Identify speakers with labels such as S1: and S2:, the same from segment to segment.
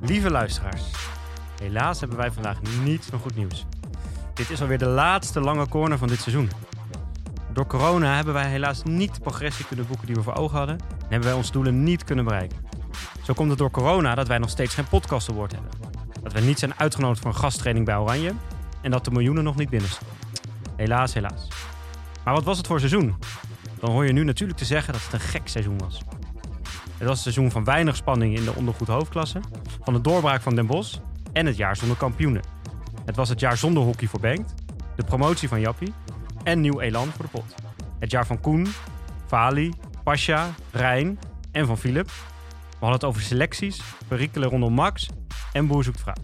S1: Lieve luisteraars, helaas hebben wij vandaag niets van goed nieuws. Dit is alweer de laatste lange corner van dit seizoen. Door corona hebben wij helaas niet de progressie kunnen boeken die we voor ogen hadden en hebben wij onze doelen niet kunnen bereiken. Zo komt het door corona dat wij nog steeds geen podcast award hebben. Dat wij niet zijn uitgenodigd voor een gasttraining bij Oranje en dat de miljoenen nog niet binnen zijn. Helaas, helaas. Maar wat was het voor seizoen? Dan hoor je nu natuurlijk te zeggen dat het een gek seizoen was. Het was een seizoen van weinig spanning in de ondergoed hoofdklasse, van de doorbraak van Den Bosch en het jaar zonder kampioenen. Het was het jaar zonder hockey voor Bengt, de promotie van Jappie en nieuw elan voor de pot. Het jaar van Koen, Fali, Pasha, Rijn en van Philip. We hadden het over selecties, perikelen rondom Max en Boer zoekt vrouw.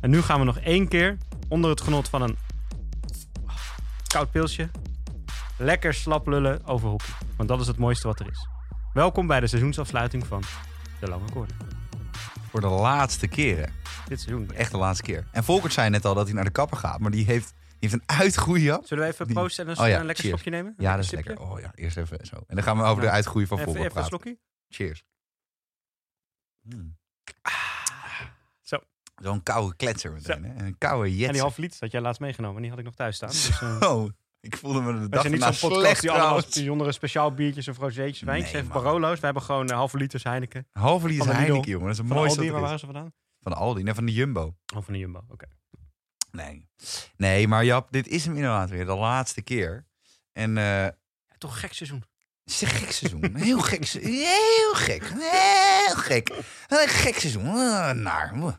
S1: En nu gaan we nog één keer onder het genot van een koud pilsje lekker slap lullen over hockey. Want dat is het mooiste wat er is. Welkom bij de seizoensafsluiting van De Lange Koorden.
S2: Voor de laatste keren.
S1: Dit seizoen.
S2: Echt de laatste keer. En Volkert zei net al dat hij naar de kapper gaat, maar die heeft, die heeft een uitgroei gehad.
S1: Zullen we even
S2: Die-
S1: proosten en een,
S2: Oh ja,
S1: een lekker
S2: cheers.
S1: slokje nemen?
S2: Ja, dat is
S1: Sipje?
S2: lekker. Oh ja, eerst even zo. En dan gaan we over de
S1: Ja.
S2: uitgroei van
S1: Even,
S2: Volkert
S1: even een
S2: praten.
S1: slokje?
S2: Cheers.
S1: Zo.
S2: Zo'n koude kletser meteen. Hè? Een koude jet.
S1: En die half lied dat jij laatst meegenomen. En die had ik nog thuis staan. Dus, eh
S2: Zo. Oh, Ik voelde me de
S1: we
S2: dag
S1: zijn niet
S2: erna
S1: zo'n podcast
S2: slecht
S1: die allemaal
S2: trouwens.
S1: bijzondere speciaal biertjes of rozeetjes, wijntjes
S2: Nee,
S1: en
S2: man.
S1: Barolo's. We hebben gewoon eh, halve liters Heineken.
S2: Halve liter
S1: Van de
S2: Heineken,
S1: Lidl.
S2: jongen. Dat is het
S1: Van
S2: mooiste
S1: Aldi, waar
S2: wat er
S1: waren
S2: is.
S1: ze vandaan?
S2: Van de Aldi. Nee, van de Jumbo.
S1: Oh, van de Jumbo, oké.
S2: Nee. Nee, maar Jap, dit is hem inderdaad weer. De laatste keer. En eh,
S1: Ja, toch gek seizoen.
S2: Het is een gek seizoen. Een Heel gek. se- Heel gek. Heel gek. Een gek seizoen. Eh, Naar.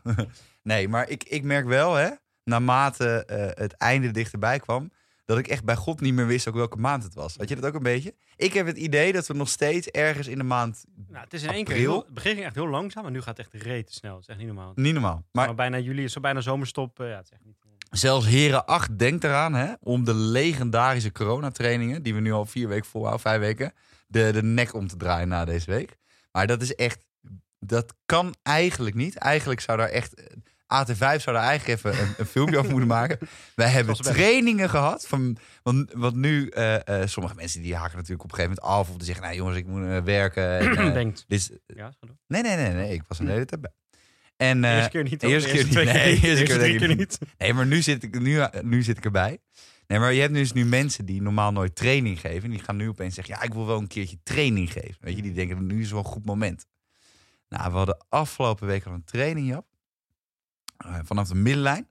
S2: Nee, maar ik, ik merk wel, hè, naarmate eh, het einde dichterbij kwam, dat ik echt bij God niet meer wist ook welke maand het was. Had je dat ook een beetje? Ik heb het idee dat we nog steeds ergens in de maand.
S1: Nou, het is in één keer
S2: April?
S1: heel, het begin ging echt heel langzaam, en nu gaat het echt reet snel. Het is echt niet normaal.
S2: Niet normaal. Maar
S1: Maar bijna juli is zo bijna zomerstop. eh, ja, het is echt niet.
S2: Zelfs Heren 8 denkt eraan hè, om de legendarische coronatrainingen, die we nu al vier weken volhouden, vijf weken, de, de nek om te draaien na deze week. Maar dat is echt, dat kan eigenlijk niet. Eigenlijk zou daar echt, eh, AT5 zou daar eigenlijk even een, een filmpje over moeten maken. Wij hebben
S1: Zoals we
S2: trainingen gehad, van, want, want nu, eh, eh, sommige mensen die haken natuurlijk op een gegeven moment af of die zeggen, nou jongens, ik moet eh, werken. En, eh,
S1: Denkt.
S2: dit is-
S1: Ja, is goed. hoor.
S2: nee, nee, nee, nee, ik was een hele tijd bij. En, eh,
S1: eerste keer niet. hoor.
S2: eerste
S1: De
S2: keer
S1: twee
S2: niet. Nee,
S1: de
S2: eerste
S1: eerste
S2: keer
S1: drie
S2: denk ik
S1: keer niet.
S2: niet. Nee, maar nu zit ik, nu, nu zit ik erbij. Nee, maar je hebt nu dus nu mensen die normaal nooit training geven. En die gaan nu opeens zeggen, ja, ik wil wel een keertje training geven. Weet je, die denken, nu is wel een goed moment. Nou, we hadden afgelopen week al een training, Jap. Eh, vanaf de middenlijn.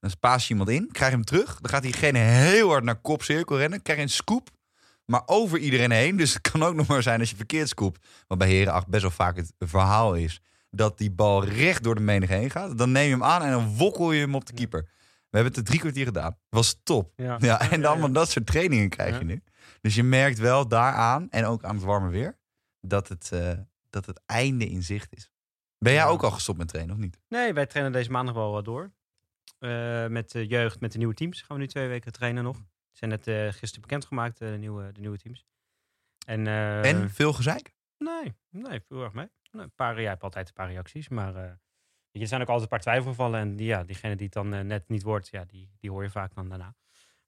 S2: Dan spaas je iemand in, krijg je hem terug. Dan gaat diegene heel hard naar kopcirkel rennen. Krijg je een scoop, maar over iedereen heen. Dus het kan ook nog maar zijn als je verkeerd scoopt. Wat bij Heren 8 best wel vaak het verhaal is. Dat die bal recht door de menigte heen gaat. Dan neem je hem aan en dan wokkel je hem op de keeper. We hebben het er drie kwartier gedaan. Was top.
S1: Ja.
S2: Ja, en dan allemaal dat soort trainingen krijg
S1: Ja.
S2: je nu. Dus je merkt wel daaraan, en ook aan het warme weer, dat het, eh, dat het einde in zicht is. Ben jij
S1: Ja.
S2: ook al gestopt met trainen, of niet?
S1: Nee, wij trainen deze maandag wel eh, door. Eh, met de jeugd, met de nieuwe teams. Gaan we nu twee weken trainen nog. Zijn net eh, gisteren bekendgemaakt, eh, de, nieuwe, de nieuwe teams. En, eh,
S2: en veel gezeik?
S1: Nee, nee, heel erg mee. Nee, een paar, jij hebt altijd een paar reacties, maar eh, weet je, er zijn ook altijd een paar twijfelgevallen. En die, ja, diegene die het dan eh, net niet wordt, ja, die, die hoor je vaak dan daarna.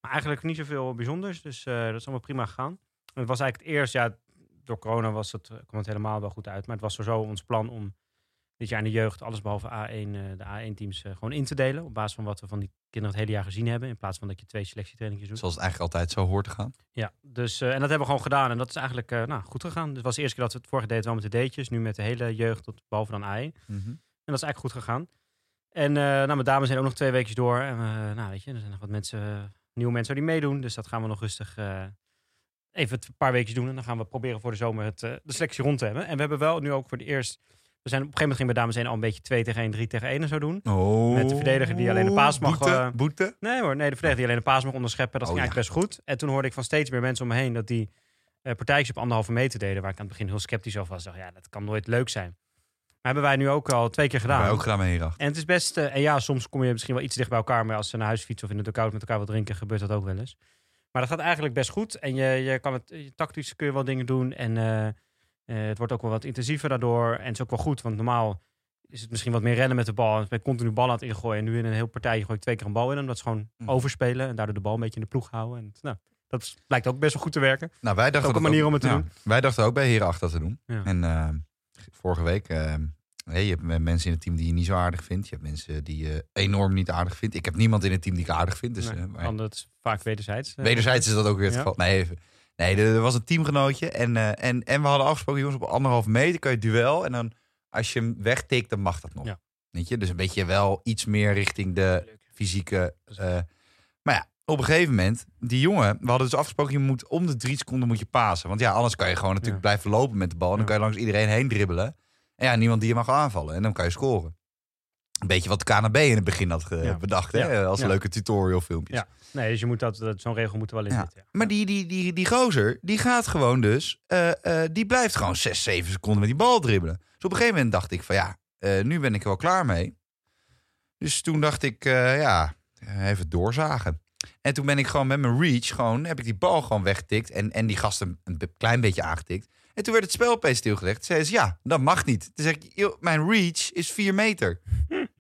S1: Maar eigenlijk niet zoveel bijzonders, dus eh, dat is allemaal prima gegaan. En het was eigenlijk het eerst, ja, door corona was het, eh, kwam het helemaal wel goed uit. Maar het was sowieso ons plan om dit jaar in de jeugd alles behalve A1, eh, de A1-teams gewoon in te delen. Op basis van wat we van die kinderen het hele jaar gezien hebben. In plaats van dat je twee selectietrainingjes doet.
S2: Zoals het eigenlijk altijd zo hoort te gaan.
S1: Ja, dus, eh, en dat hebben we gewoon gedaan. En dat is eigenlijk eh, nou, goed gegaan. Dus het was de eerste keer dat we het vorige deden wel met de D'tjes. Nu met de hele jeugd, tot behalve dan AI. En dat is eigenlijk goed gegaan. En eh nou, mijn dames zijn ook nog twee weekjes door. En eh, nou, weet je, er zijn nog wat mensen, eh, nieuwe mensen die meedoen. Dus dat gaan we nog rustig eh, even het- een paar weekjes doen. En dan gaan we proberen voor de zomer het, eh, de selectie rond te hebben. En we hebben wel nu ook voor het eerst... We zijn, op een gegeven moment gingen we dames zijn al een beetje 2 tegen 1, 3 tegen 1 en zo doen.
S2: Oh.
S1: Met de verdediger die alleen de paas mag,
S2: Boete,
S1: eh,
S2: boete.
S1: Nee hoor, nee, de verdediger die alleen de paas mag onderscheppen, dat
S2: Oh,
S1: ging eigenlijk best goed. En toen hoorde ik van steeds meer mensen om me heen dat die eh partijtjes op anderhalve meter deden, waar ik aan het begin heel sceptisch over was. Dacht, ja, dat kan nooit leuk zijn. Maar hebben wij nu ook al twee keer
S2: Hebben
S1: gedaan.
S2: wij ook gedaan met Heren 8.
S1: En het is best, eh, en ja, soms kom je misschien wel iets dicht bij elkaar, maar als ze naar huis fietsen of in de dugout met elkaar wat drinken, gebeurt dat ook wel eens. Maar dat gaat eigenlijk best goed. En je, je kan het, je- tactisch kun je wel dingen doen en eh, eh, het wordt ook wel wat intensiever daardoor. En het is ook wel goed, want normaal is het misschien wat meer rennen met de bal. En met continu bal aan het ingooien. En nu in een heel partijje gooi ik twee keer een bal in. Omdat ze gewoon
S2: Mhm.
S1: overspelen. En daardoor de bal een beetje in de ploeg houden. En, het- nou, dat is- lijkt ook best wel goed te werken.
S2: Nou, wij dachten
S1: ook een manier om het te doen.
S2: Wij dachten ook bij Heren 8 dat te doen.
S1: Ja.
S2: En eh, vorige week, eh, hey, je hebt eh, mensen in het team die je niet zo aardig vindt. Je hebt mensen die je enorm niet aardig vindt. Ik heb niemand in het team die ik aardig vind. Dus,
S1: Nee,
S2: eh, maar
S1: want Nou, dat is vaak wederzijds. eh,
S2: Wederzijds is dat ook weer het
S1: Ja.
S2: geval. Nee, even. nee er, er was een teamgenootje. En, eh, en, en we hadden afgesproken, jongens, op anderhalf meter kan je het duel. En dan als je hem wegtikt, dan mag dat nog.
S1: Ja.
S2: Weet je? Dus een beetje wel iets meer richting de fysieke. eh, maar ja, op een gegeven moment, die jongen, we hadden dus afgesproken, je moet om de drie seconden moet je pasen. Want ja, anders kan je gewoon natuurlijk
S1: Ja.
S2: blijven lopen met de bal. En dan
S1: Ja.
S2: kan je langs iedereen heen dribbelen. En ja, niemand die je mag aanvallen. En dan kan je scoren. Een beetje wat de KNB in het begin had eh,
S1: Ja.
S2: bedacht, hè?
S1: Ja.
S2: als
S1: Ja.
S2: leuke tutorial filmpjes.
S1: Ja. Nee, dus je moet dat, dat, zo'n regel moet er wel in
S2: Ja.
S1: zitten.
S2: Maar die, die, die, die gozer, die gaat gewoon dus... eh, eh, die blijft gewoon 6, 7 seconden met die bal dribbelen. Dus op een gegeven moment dacht ik van ja, eh, nu ben ik er wel klaar mee. Dus toen dacht ik, eh, ja, eh, even doorzagen. En toen ben ik gewoon met mijn reach, gewoon, heb ik die bal gewoon weggetikt. En, en die gast een, een be- klein beetje aangetikt. En toen werd het spel opeens stilgelegd. Toen zei ze, ja, dat mag niet. Toen zeg ik, "Yo, mijn reach is 4 meter.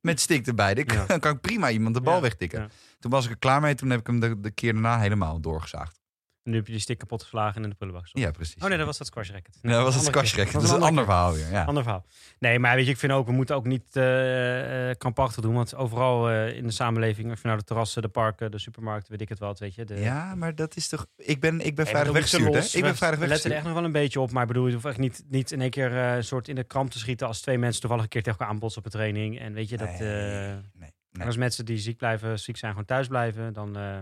S2: Met stick erbij. Dan kan, kan ik prima iemand de bal
S1: Ja,
S2: wegtikken.
S1: ja.
S2: Toen was ik er klaar mee. Toen heb ik hem de, de keer daarna helemaal doorgezaagd.
S1: En nu heb je die stick kapot geslagen en in de prullenbak gestopt.
S2: Ja, precies.
S1: Oh nee, dat was dat squash racket.
S2: Nee, dat was het
S1: andere keer.
S2: squashrek.
S1: Dat was
S2: Dat is een
S1: andere
S2: ander verhaal weer. Ja.
S1: Ander verhaal. Nee, maar weet je, ik vind ook, we moeten ook niet eh eh, krampachtig doen. Want overal eh, in de samenleving, of je nou de terrassen, de parken, de supermarkten, weet ik het wel, weet je. De,
S2: Ja, maar dat is toch... Ik ben, ik ben
S1: Nee, maar
S2: vrijdag
S1: doe niet te
S2: weggestuurd,
S1: los.
S2: hè? Ik
S1: We
S2: ben vrijdag
S1: Let er
S2: weggestuurd.
S1: echt nog wel een beetje op, maar ik bedoel, je hoeft echt niet, niet in één keer eh, een soort in de kramp te schieten als twee mensen toevallig een keer tegen elkaar aanbotsen op een training. En weet je, dat... eh,
S2: Nee, nee,
S1: en als mensen die ziek blijven, ziek zijn, gewoon thuis blijven, dan eh,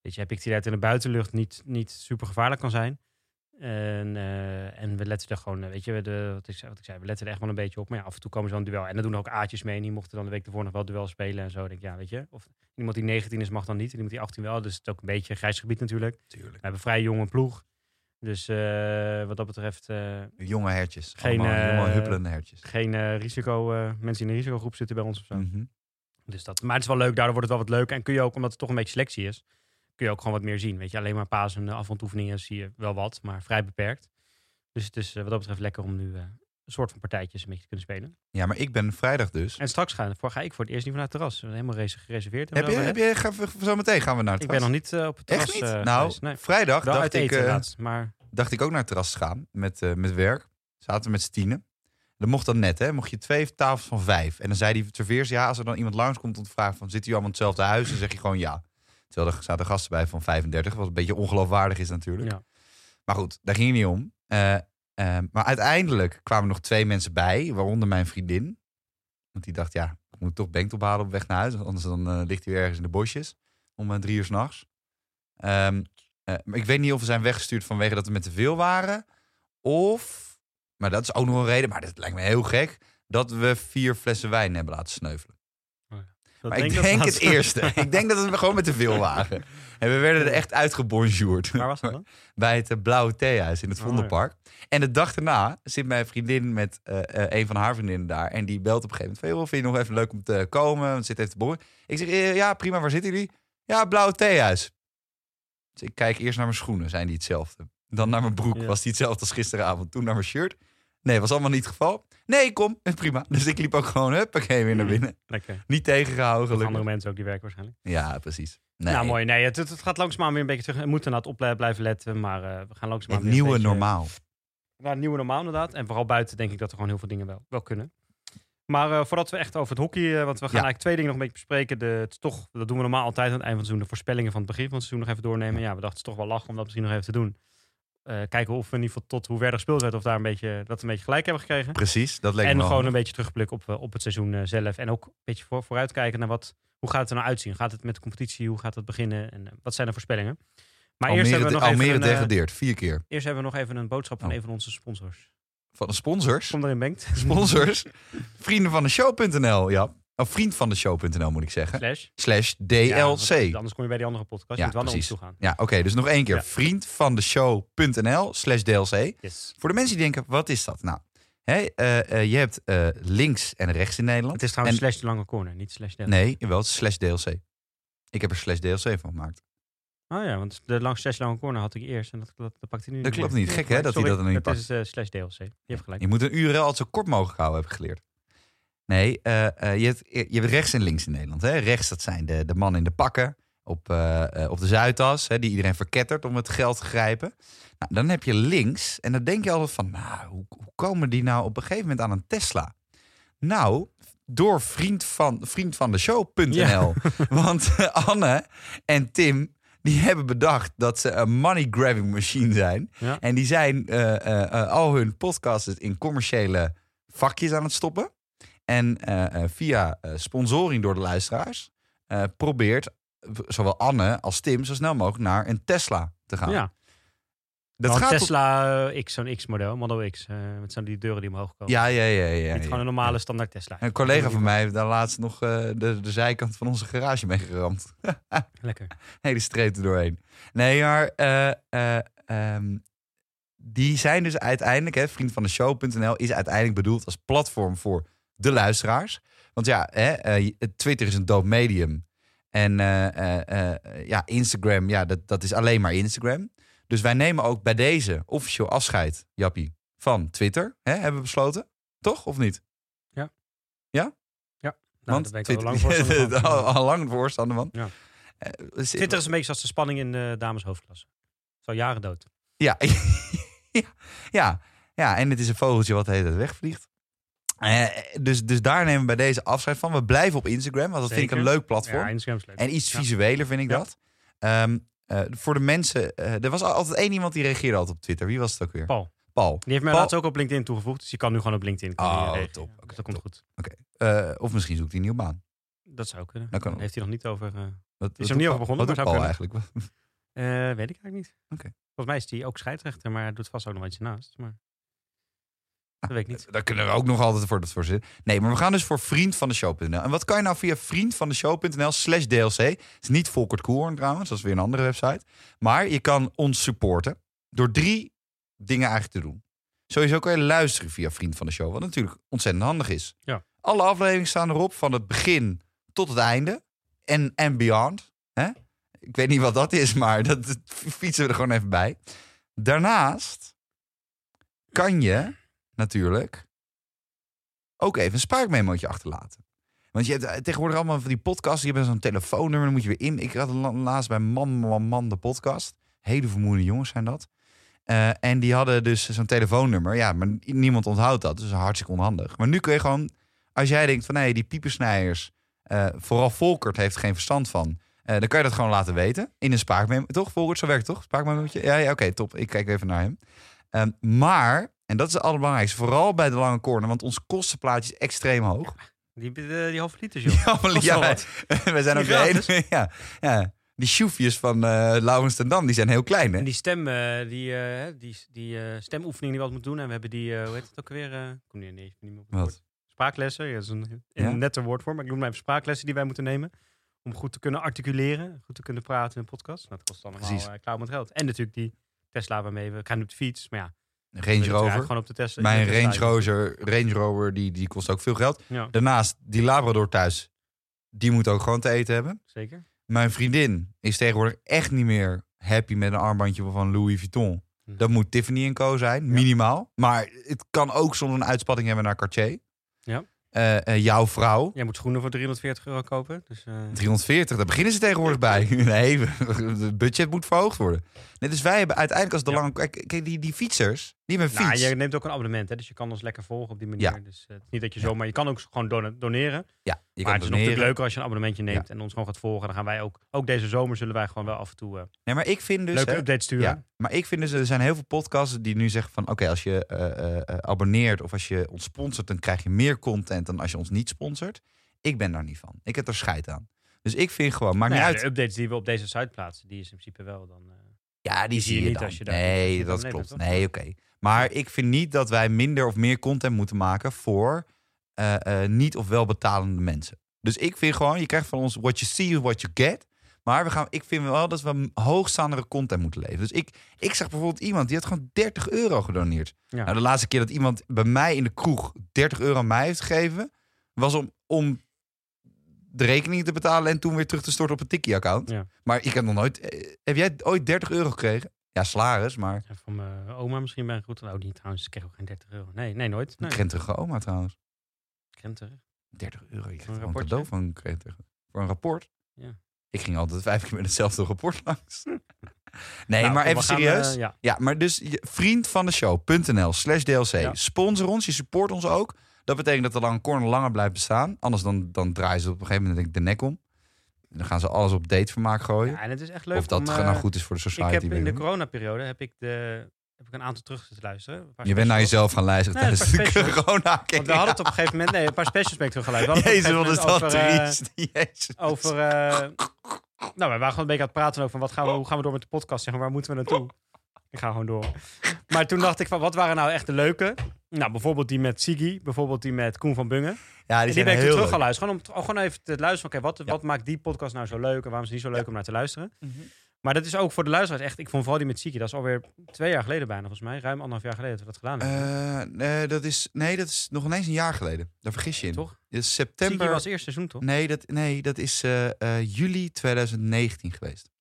S1: weet je, heb ik die dat in de buitenlucht niet, niet super gevaarlijk kan zijn. En, eh, en we letten er gewoon, eh, weet je, de, wat, ik zei, wat ik zei, we letten er echt wel een beetje op. Maar ja, af en toe komen ze wel een duel. En dan doen er ook aatjes mee. En die mochten dan de week ervoor nog wel duel spelen en zo. Dan denk ik, ja, weet je. Of iemand die 19 is, mag dan niet. En iemand die 18 wel. Dus het is ook een beetje een grijs gebied natuurlijk. We
S2: natuurlijk.
S1: hebben een vrij jonge ploeg. Dus eh, wat dat betreft, eh,
S2: Jonge hertjes.
S1: Geen,
S2: Allemaal,
S1: eh,
S2: helemaal huppelende hertjes.
S1: geen eh, risico. eh, mensen die in de risicogroep zitten bij ons of zo.
S2: Mhm.
S1: Dus dat, maar het is wel leuk, daardoor wordt het wel wat leuker. En kun je ook, omdat het toch een beetje selectie is, kun je ook gewoon wat meer zien. Weet je, alleen maar paas en eh, afrondoefeningen zie je wel wat, maar vrij beperkt. Dus het is eh, wat dat betreft lekker om nu eh, een soort van partijtjes een beetje te kunnen spelen.
S2: Ja, maar ik ben vrijdag dus...
S1: En straks ga, voor, ga ik voor het eerst niet vanuit het terras. We hebben Helemaal race gereserveerd. en
S2: Heb
S1: zo,
S2: je,
S1: maar,
S2: heb
S1: eh,
S2: je, gaan we- zo meteen gaan we naar het
S1: ik ben
S2: terras.
S1: nog niet eh, op het terras
S2: Echt niet?
S1: eh,
S2: nou,
S1: geweest. Nee, wel
S2: vrijdag dacht
S1: uit
S2: ik,
S1: eten
S2: eh,
S1: laatst, maar
S2: dacht ik ook naar het terras te gaan met, eh, met werk. Zaten we met z'n tienen. Dat mocht dan net, hè? Mocht je twee tafels van vijf. En dan zei die serveers, ja, als er dan iemand langskomt om te vragen van... zitten jullie allemaal in hetzelfde huis? Dan zeg je gewoon ja. Terwijl er zaten gasten bij van 35, wat een beetje ongeloofwaardig is natuurlijk.
S1: Ja.
S2: Maar goed, daar ging het niet om. Eh, eh, maar uiteindelijk kwamen nog twee mensen bij, waaronder mijn vriendin. Want die dacht, ja, ik moet toch Bengt ophalen op weg naar huis. Anders dan eh, ligt hij weer ergens in de bosjes om eh, drie uur s'nachts. Ehm eh, maar ik weet niet of we zijn weggestuurd vanwege dat we met te veel waren. Of, maar dat is ook nog een reden, maar dat lijkt me heel gek. Dat we vier flessen wijn hebben laten sneuvelen.
S1: dat
S2: maar ik
S1: dat
S2: denk
S1: dat-
S2: het eerste. ik denk dat we gewoon met te veel waren. En we werden er echt uitgebonjourd.
S1: Waar was dat dan?
S2: Bij het eh, Blauwe Theehuis in het
S1: Oh,
S2: Vondelpark. En de dag daarna zit mijn vriendin met eh, eh, een van haar vriendinnen daar. En die belt op een gegeven moment van... "Joh, vind je nog even leuk om te komen? Want zit even te borrelen. Ik zeg, "Eh, ja prima, waar zitten jullie? Ja, Blauwe Theehuis. Dus ik kijk eerst naar mijn schoenen, zijn die hetzelfde? Dan naar mijn broek,
S1: Ja.
S2: was die hetzelfde als gisteravond? Toen naar mijn shirt? Nee, was allemaal niet het geval. Nee, kom, eh, prima. Dus ik liep ook gewoon, huppakee, weer naar binnen.
S1: Lekker.
S2: Niet tegengehouden, gelukkig.
S1: Andere mensen ook die werken waarschijnlijk.
S2: Ja, precies. Nee,
S1: Nou, mooi. Nee, het, het- het gaat langzaamaan weer een beetje terug. We moeten inderdaad op blij- blijven letten, maar eh, we gaan langzaamaan
S2: Het
S1: weer
S2: nieuwe
S1: een beetje
S2: normaal.
S1: Naar het nieuwe normaal, inderdaad. En vooral buiten denk ik dat er gewoon heel veel dingen wel, wel kunnen. Maar eh, voordat we echt over het hockey, eh, want we gaan
S2: Ja.
S1: eigenlijk twee dingen nog een beetje bespreken. De, het is toch, dat doen we normaal altijd aan het eind van het seizoen. De voorspellingen van het begin van het seizoen nog even doornemen. Ja, we dachten het is toch wel lachen om dat misschien nog even te doen. Eh, kijken of we in ieder geval tot hoe verder gespeeld werd, of daar een beetje, dat we een beetje gelijk hebben gekregen.
S2: Precies, dat leek
S1: en
S2: me wel.
S1: gewoon een beetje terugblik op, eh, op het seizoen eh, zelf. En ook een beetje voor, vooruitkijken naar wat, hoe gaat het er nou uitzien? Gaat het met de competitie? Hoe gaat het beginnen? En eh, wat zijn de voorspellingen? Maar
S2: Almere,
S1: eerst hebben, we nog
S2: Almere
S1: even een, eh,
S2: degradeert, vier keer.
S1: eerst hebben we nog even een boodschap van
S2: Oh.
S1: een van onze sponsors.
S2: Van de sponsors.
S1: Kom erin, Bengt.
S2: Sponsors. Vrienden van de show.nl, ja. Of vriend van de show.nl moet ik zeggen.
S1: Slash.
S2: Slash
S1: Ja, want
S2: DLC. Ja,
S1: anders kom je bij die andere podcast.
S2: E Ja,
S1: je moet wel naar ons toe
S2: precies.
S1: gaan.
S2: oké, dus nog één keer.
S1: Ja.
S2: Vriend van de show.nl slash DLC.
S1: Yes.
S2: Voor de mensen die denken, wat is dat nou? Hé, eh, eh, je hebt eh, links en rechts in Nederland.
S1: Het is trouwens
S2: En-
S1: slash de lange corner, niet slash de.
S2: Nee, wel slash DLC. Ik heb er slash DLC van gemaakt.
S1: Oh ja, want de lang slash lange corner had ik eerst en dat, dat, dat pakt hij nu
S2: Dat
S1: niet
S2: klopt
S1: meer.
S2: niet. Gek, hè, dat hij
S1: Sorry,
S2: dat dan niet
S1: Dat
S2: pakt.
S1: is eh, slash DLC. Je hebt gelijk.
S2: Je moet een URL altijd zo kort mogelijk houden, heb ik geleerd. Nee, eh, eh, je, hebt, je hebt rechts en links in Nederland. Hè? Rechts, dat zijn de, de man in de pakken op, eh, eh, op de Zuidas, hè, die iedereen verkettert om het geld te grijpen. Nou, dan heb je links, en dan denk je altijd van, nou, hoe, hoe komen die nou op een gegeven moment aan een Tesla? Nou, door vriend van, vriend van de show.nl. Want eh, Anne en Tim, die hebben bedacht dat ze een money grabbing machine zijn.
S1: Ja.
S2: En die zijn eh, eh, eh, al hun podcasts in commerciële vakjes aan het stoppen. En eh, eh, via eh, sponsoring door de luisteraars eh, probeert zowel Anne als Tim zo snel mogelijk naar een Tesla te gaan.
S1: Ja,
S2: dat
S1: Want
S2: gaat op-
S1: Tesla eh, X, zo'n X-model, Model X. eh met zo'n die deuren die omhoog komen.
S2: Ja, ja, ja, ja.
S1: Niet
S2: ja.
S1: gewoon een normale standaard Tesla.
S2: Een collega van mij heeft daar laatst nog eh, de, de zijkant van onze garage mee geramd.
S1: Lekker. Nou,
S2: hele streep er doorheen. Nee, maar eh, eh, ehm, die zijn dus uiteindelijk, hè, vriend van de show.nl is uiteindelijk bedoeld als platform voor de luisteraars. Want ja, hè, eh, Twitter is een dood medium. En eh, eh, eh, ja, Instagram, ja, dat, dat is alleen maar Instagram. Dus wij nemen ook bij deze officieel afscheid, Jappie, van Twitter. Hè, hebben we besloten. Toch, of niet?
S1: Nou, daar ben ik al lang voorstander van.
S2: al, al lang voorstander van.
S1: Ja.
S2: Eh,
S1: Twitter is een beetje zoals de spanning in de dameshoofdklasse. Zo jaren dood.
S2: Ja. ja. ja. Ja, en het is een vogeltje wat de hele tijd wegvliegt. Eh, dus, dus daar nemen we bij deze afscheid van. We blijven op Instagram, want dat vind ik
S1: Zeker.
S2: een leuk platform.
S1: Ja, Instagram is leuk.
S2: en iets
S1: Ja.
S2: visueler vind ik
S1: Ja.
S2: dat. Ehm, eh, voor de mensen, eh, er was al- altijd één iemand die reageerde altijd op Twitter. Wie was het ook weer?
S1: Paul.
S2: Paul.
S1: Die heeft mij
S2: Paul-
S1: laatst ook op LinkedIn toegevoegd, dus je kan nu gewoon op LinkedIn. kan je
S2: Oh,
S1: reageren.
S2: top.
S1: Ja, dus
S2: Oké,
S1: dat komt
S2: top.
S1: goed.
S2: Eh, of misschien zoekt hij een nieuwe baan.
S1: Dat zou kunnen.
S2: Dat kan ook.
S1: Heeft hij nog niet over... eh,
S2: Wat, wat
S1: er
S2: doet
S1: niet
S2: Paul-
S1: over begonnen,
S2: Wat doet
S1: maar zou
S2: Paul eigenlijk?
S1: eh, weet ik eigenlijk niet.
S2: Oké. Ah.
S1: Volgens mij is hij ook scheidsrechter, maar hij doet vast ook nog iets naast. Maar... Dat weet ik niet.
S2: Daar kunnen we ook nog altijd voor, voor zitten. Nee, maar we gaan dus voor vriend van de show.nl. En wat kan je nou via vriend van de show.nl slash DLC? Het is niet Volkert Koelhoorn trouwens, dat is weer een andere website. Maar je kan ons supporten door drie dingen eigenlijk te doen. Sowieso kan je luisteren via vriend van de show, wat natuurlijk ontzettend handig is.
S1: Ja.
S2: Alle afleveringen staan erop van het begin tot het einde. En, en beyond. Hè? Ik weet niet wat dat is, maar dat, dat fietsen we er gewoon even bij. Daarnaast kan je natuurlijk ook even een spraakmemootje achterlaten. Want je hebt eh, tegenwoordig allemaal van die podcasts. Je hebt zo'n telefoonnummer, dan moet je weer in. Ik had la- laatst bij Man Man Man de podcast. Hele vermoeiende jongens zijn dat. Eh, en die hadden dus zo'n telefoonnummer. Ja, maar niemand onthoudt dat. Dus hartstikke onhandig. Maar nu kun je gewoon, als jij denkt van nee, die piepersnijers, eh, vooral Volkert heeft er geen verstand van. Eh, dan kan je dat gewoon laten weten in een spraakmemo. Toch? Volkert, zo werkt het toch? Spraakmemootje? Ja, ja oké, top. Ik kijk even naar hem. Ehm, maar, en dat is het allerbelangrijkste, vooral bij de lange corner, want ons kostenplaatje is extreem hoog.
S1: Die, eh, die, die halve liters, joh.
S2: Ja, maar-
S1: Kost
S2: ja,
S1: wel wat.
S2: we zijn ook
S1: Niet
S2: de enige. Ja, ja. Die sjoefjes van eh Laurens ten Dam, die zijn heel klein, hè?
S1: En die stem, eh, die, eh, die, die eh, stemoefening die we altijd moeten doen. En we hebben die, eh, hoe heet het ook alweer? eh, ik kom nu ineens niet meer op het
S2: Wat?
S1: woord. Spraaklessen. Ja, dat is een, een
S2: Ja?
S1: netter woord voor, maar ik noem maar even spraaklessen die wij moeten nemen. Om goed te kunnen articuleren, goed te kunnen praten in een podcast. Nou, dat kost allemaal
S2: Precies.
S1: eh klauw met geld. En natuurlijk die Tesla waarmee we gaan op de fiets. Maar ja, we
S2: Range
S1: willen natuurlijk
S2: Rover.
S1: gewoon op de Tesla.
S2: Mijn
S1: in de Tesla
S2: Range Rover, Range Rover die, die kost ook veel geld.
S1: Ja,
S2: Daarnaast, die Labrador thuis, die moet ook gewoon te eten hebben.
S1: zeker.
S2: Mijn vriendin is tegenwoordig echt niet meer happy met een armbandje van Louis Vuitton.
S1: Hm.
S2: Dat moet Tiffany Co. zijn, minimaal. Maar het kan ook soms een uitspatting hebben naar Cartier.
S1: Ja.
S2: Eh, eh, jouw vrouw.
S1: Jij moet schoenen voor 340 euro kopen. Dus, eh,
S2: 340, daar beginnen ze tegenwoordig bij. Nee, het budget moet verhoogd worden. Nee, dus wij hebben uiteindelijk als
S1: Ja.
S2: de lange... Kijk, kijk, die, die fietsers, die hebben een
S1: nou,
S2: fiets.
S1: je neemt ook een abonnement, hè, dus je kan ons lekker volgen op die manier.
S2: Ja.
S1: Dus eh, het is niet dat je
S2: Ja.
S1: zomaar, je kan ook gewoon don- doneren.
S2: ja, je
S1: maar het is nog
S2: doneren.
S1: natuurlijk leuker als je een abonnementje neemt en ons gewoon gaat volgen. Dan gaan wij ook, ook deze zomer zullen wij gewoon wel af en toe eh,
S2: Nee, maar ik vind dus...
S1: leuke
S2: hè,
S1: updates sturen. Nou
S2: ja, maar ik vind dus, er zijn heel veel podcasts die nu zeggen van... Oké, als je eh, eh, eh, abonneert of als je ons sponsort... dan krijg je meer content dan als je ons niet sponsort. Ik ben daar niet van. Ik heb er scheid aan. Dus ik vind gewoon, maakt
S1: Nou
S2: niet
S1: ja,
S2: uit.
S1: de updates die we op deze site plaatsen, die is in principe wel dan... eh,
S2: Ja, die zie je,
S1: je niet
S2: dan.
S1: als je daar- als
S2: nee,
S1: je
S2: dat
S1: dan
S2: klopt.
S1: leeft, toch?
S2: Nee, oké. Maar ik vind niet dat wij minder of meer content moeten maken voor eh, eh, niet of wel betalende mensen. Dus ik vind gewoon, je krijgt van ons what you see is what you get. Maar we gaan, ik vind wel dat we hoogstaandere content moeten leveren. Dus ik, ik zag bijvoorbeeld iemand die had gewoon 30 euro gedoneerd.
S1: Ja.
S2: Nou, de laatste keer dat iemand bij mij in de kroeg 30 euro aan mij heeft gegeven, was om, om de rekening te betalen en toen weer terug te storten op een Tikkie-account.
S1: Ja.
S2: Maar ik heb nog nooit... eh, Heb jij ooit 30 euro gekregen? Ja, salaris, maar...
S1: Ja, Van mijn oma misschien bij een goed. Oh, niet trouwens. Ik kreeg ook geen 30 euro. Nee, nee nooit. Nee,
S2: Krentige oma trouwens.
S1: krenten.
S2: 30 euro. Je krijgt
S1: Een
S2: gewoon een
S1: rapportje.
S2: cadeau van Krentige. Voor een rapport?
S1: Ja.
S2: Ik ging altijd vijf keer met hetzelfde rapport langs. Nee,
S1: Nou,
S2: maar
S1: kom,
S2: even
S1: we gaan,
S2: serieus.
S1: eh, ja.
S2: Ja, maar dus je- vriendvandeshow.nl slash DLC.
S1: Ja.
S2: Sponsor ons, je support ons ook. Dat betekent dat de lange corner langer blijft bestaan. Anders dan, dan draaien ze op een gegeven moment denk ik, de nek om. En dan gaan ze alles op datevermaak gooien.
S1: ja, en het is echt leuk
S2: of dat
S1: om,
S2: ge-
S1: eh,
S2: nou goed is voor de
S1: Ik
S2: society.
S1: heb in
S2: weet
S1: de
S2: ik niet.
S1: coronaperiode heb ik, de, heb ik een aantal terug te luisteren. Een paar
S2: je bent naar
S1: specials.
S2: jezelf gaan luisteren
S1: Nee,
S2: tijdens
S1: een
S2: de
S1: paar specials.
S2: corona.
S1: Want we hadden het op een gegeven moment... Nee, een paar specials ben ik teruggeluisterd. We
S2: Jezus,
S1: hadden het
S2: wat
S1: op
S2: is
S1: een
S2: dat
S1: gegeven moment over, eh,
S2: triest. Jezus.
S1: over. eh, nou, we waren gewoon een beetje aan het praten ook van wat gaan we, hoe gaan we door met de podcast? Zeg maar, waar moeten we naartoe? Ik ga gewoon door. Maar toen dacht ik van, wat waren nou echt de leuke? Nou, bijvoorbeeld die met Siggy, bijvoorbeeld die met Koen van Bungen.
S2: Ja, die,
S1: En die
S2: zijn
S1: ben ik toen
S2: heel
S1: terug gaan
S2: leuk.
S1: luisteren. Gewoon om t- oh, gewoon even te luisteren. Oké, wat,
S2: Ja.
S1: wat maakt die podcast nou zo leuk en waarom is het niet zo leuk om naar te luisteren? Maar dat is ook voor de luisteraars echt. Ik vond vooral die met Siggy, dat is alweer twee jaar geleden bijna, volgens mij. Ruim anderhalf jaar geleden dat we dat gedaan hebben.
S2: Eh, nee, dat is, nee, dat is nog ineens een jaar geleden. Daar vergis je in.
S1: Toch?
S2: Dat is
S1: Siggy
S2: Eh, september.
S1: was eerst seizoen toch?
S2: Nee, dat, nee, dat is eh, eh, juli 2019 geweest.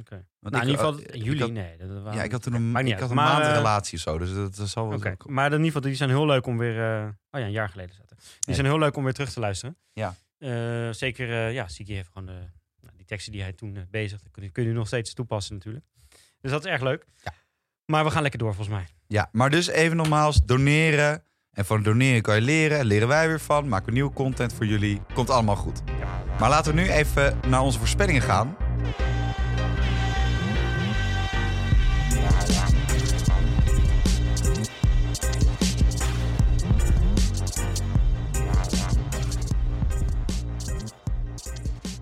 S1: Oké.
S2: Want
S1: Nou, in
S2: ik-
S1: ieder
S2: eh,
S1: geval
S2: ik
S1: juli.
S2: had-
S1: nee, dat waren-
S2: ja, ik had toen een,
S1: maakt niet
S2: ik had
S1: uit.
S2: een
S1: Maar,
S2: maand
S1: eh,
S2: een relatie of zo. Dus dat, dat zal wel...
S1: Oké, maar in ieder geval, die zijn heel leuk om weer... eh, oh ja, een jaar geleden zaten. Die
S2: Ja.
S1: zijn heel leuk om weer terug te luisteren.
S2: Ja.
S1: Eh, zeker, eh, ja, Siki heeft gewoon de, nou, die teksten die hij toen eh, bezigde, kun je, kun je nu nog steeds toepassen natuurlijk. Dus dat is erg leuk.
S2: Ja.
S1: Maar we gaan lekker door volgens mij.
S2: Ja, maar dus even nogmaals, doneren. En van doneren kan je leren. Leren wij weer van. Maken we nieuwe content voor jullie. Komt allemaal goed. Maar laten we nu even naar onze voorspellingen gaan.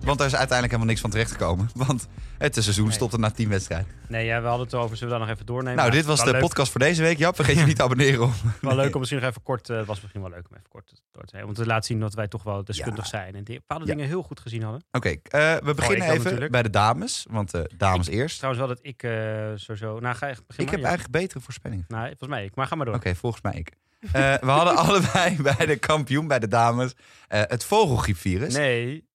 S2: Want daar is uiteindelijk helemaal niks van terechtgekomen. Want het seizoen
S1: Nee.
S2: stopte na 10 wedstrijden.
S1: Nee, ja, we hadden het over, zullen we daar nog even doornemen?
S2: Nou,
S1: Maar
S2: dit was
S1: wel
S2: de
S1: leuk,
S2: podcast voor deze week. Jap, vergeet je niet te abonneren op.
S1: Wel leuk om misschien nog even kort, eh, het was misschien wel leuk om even kort door te zijn. Want het laat zien dat wij toch wel deskundig zijn en die bepaalde
S2: Ja.
S1: dingen heel goed gezien hadden.
S2: Oké, eh, we beginnen
S1: ik dan
S2: even
S1: natuurlijk.
S2: bij de dames. Want eh, dames eerst.
S1: Trouwens wel dat ik eh sowieso, nou ga echt
S2: Ik
S1: beginnen.
S2: heb eigenlijk betere voorspelling.
S1: Nou, volgens mij ik, maar ga maar door.
S2: Oké, volgens mij ik. Eh, we hadden allebei bij de kampioen, bij de dames, eh, het vogelgriepvirus.
S1: Nee.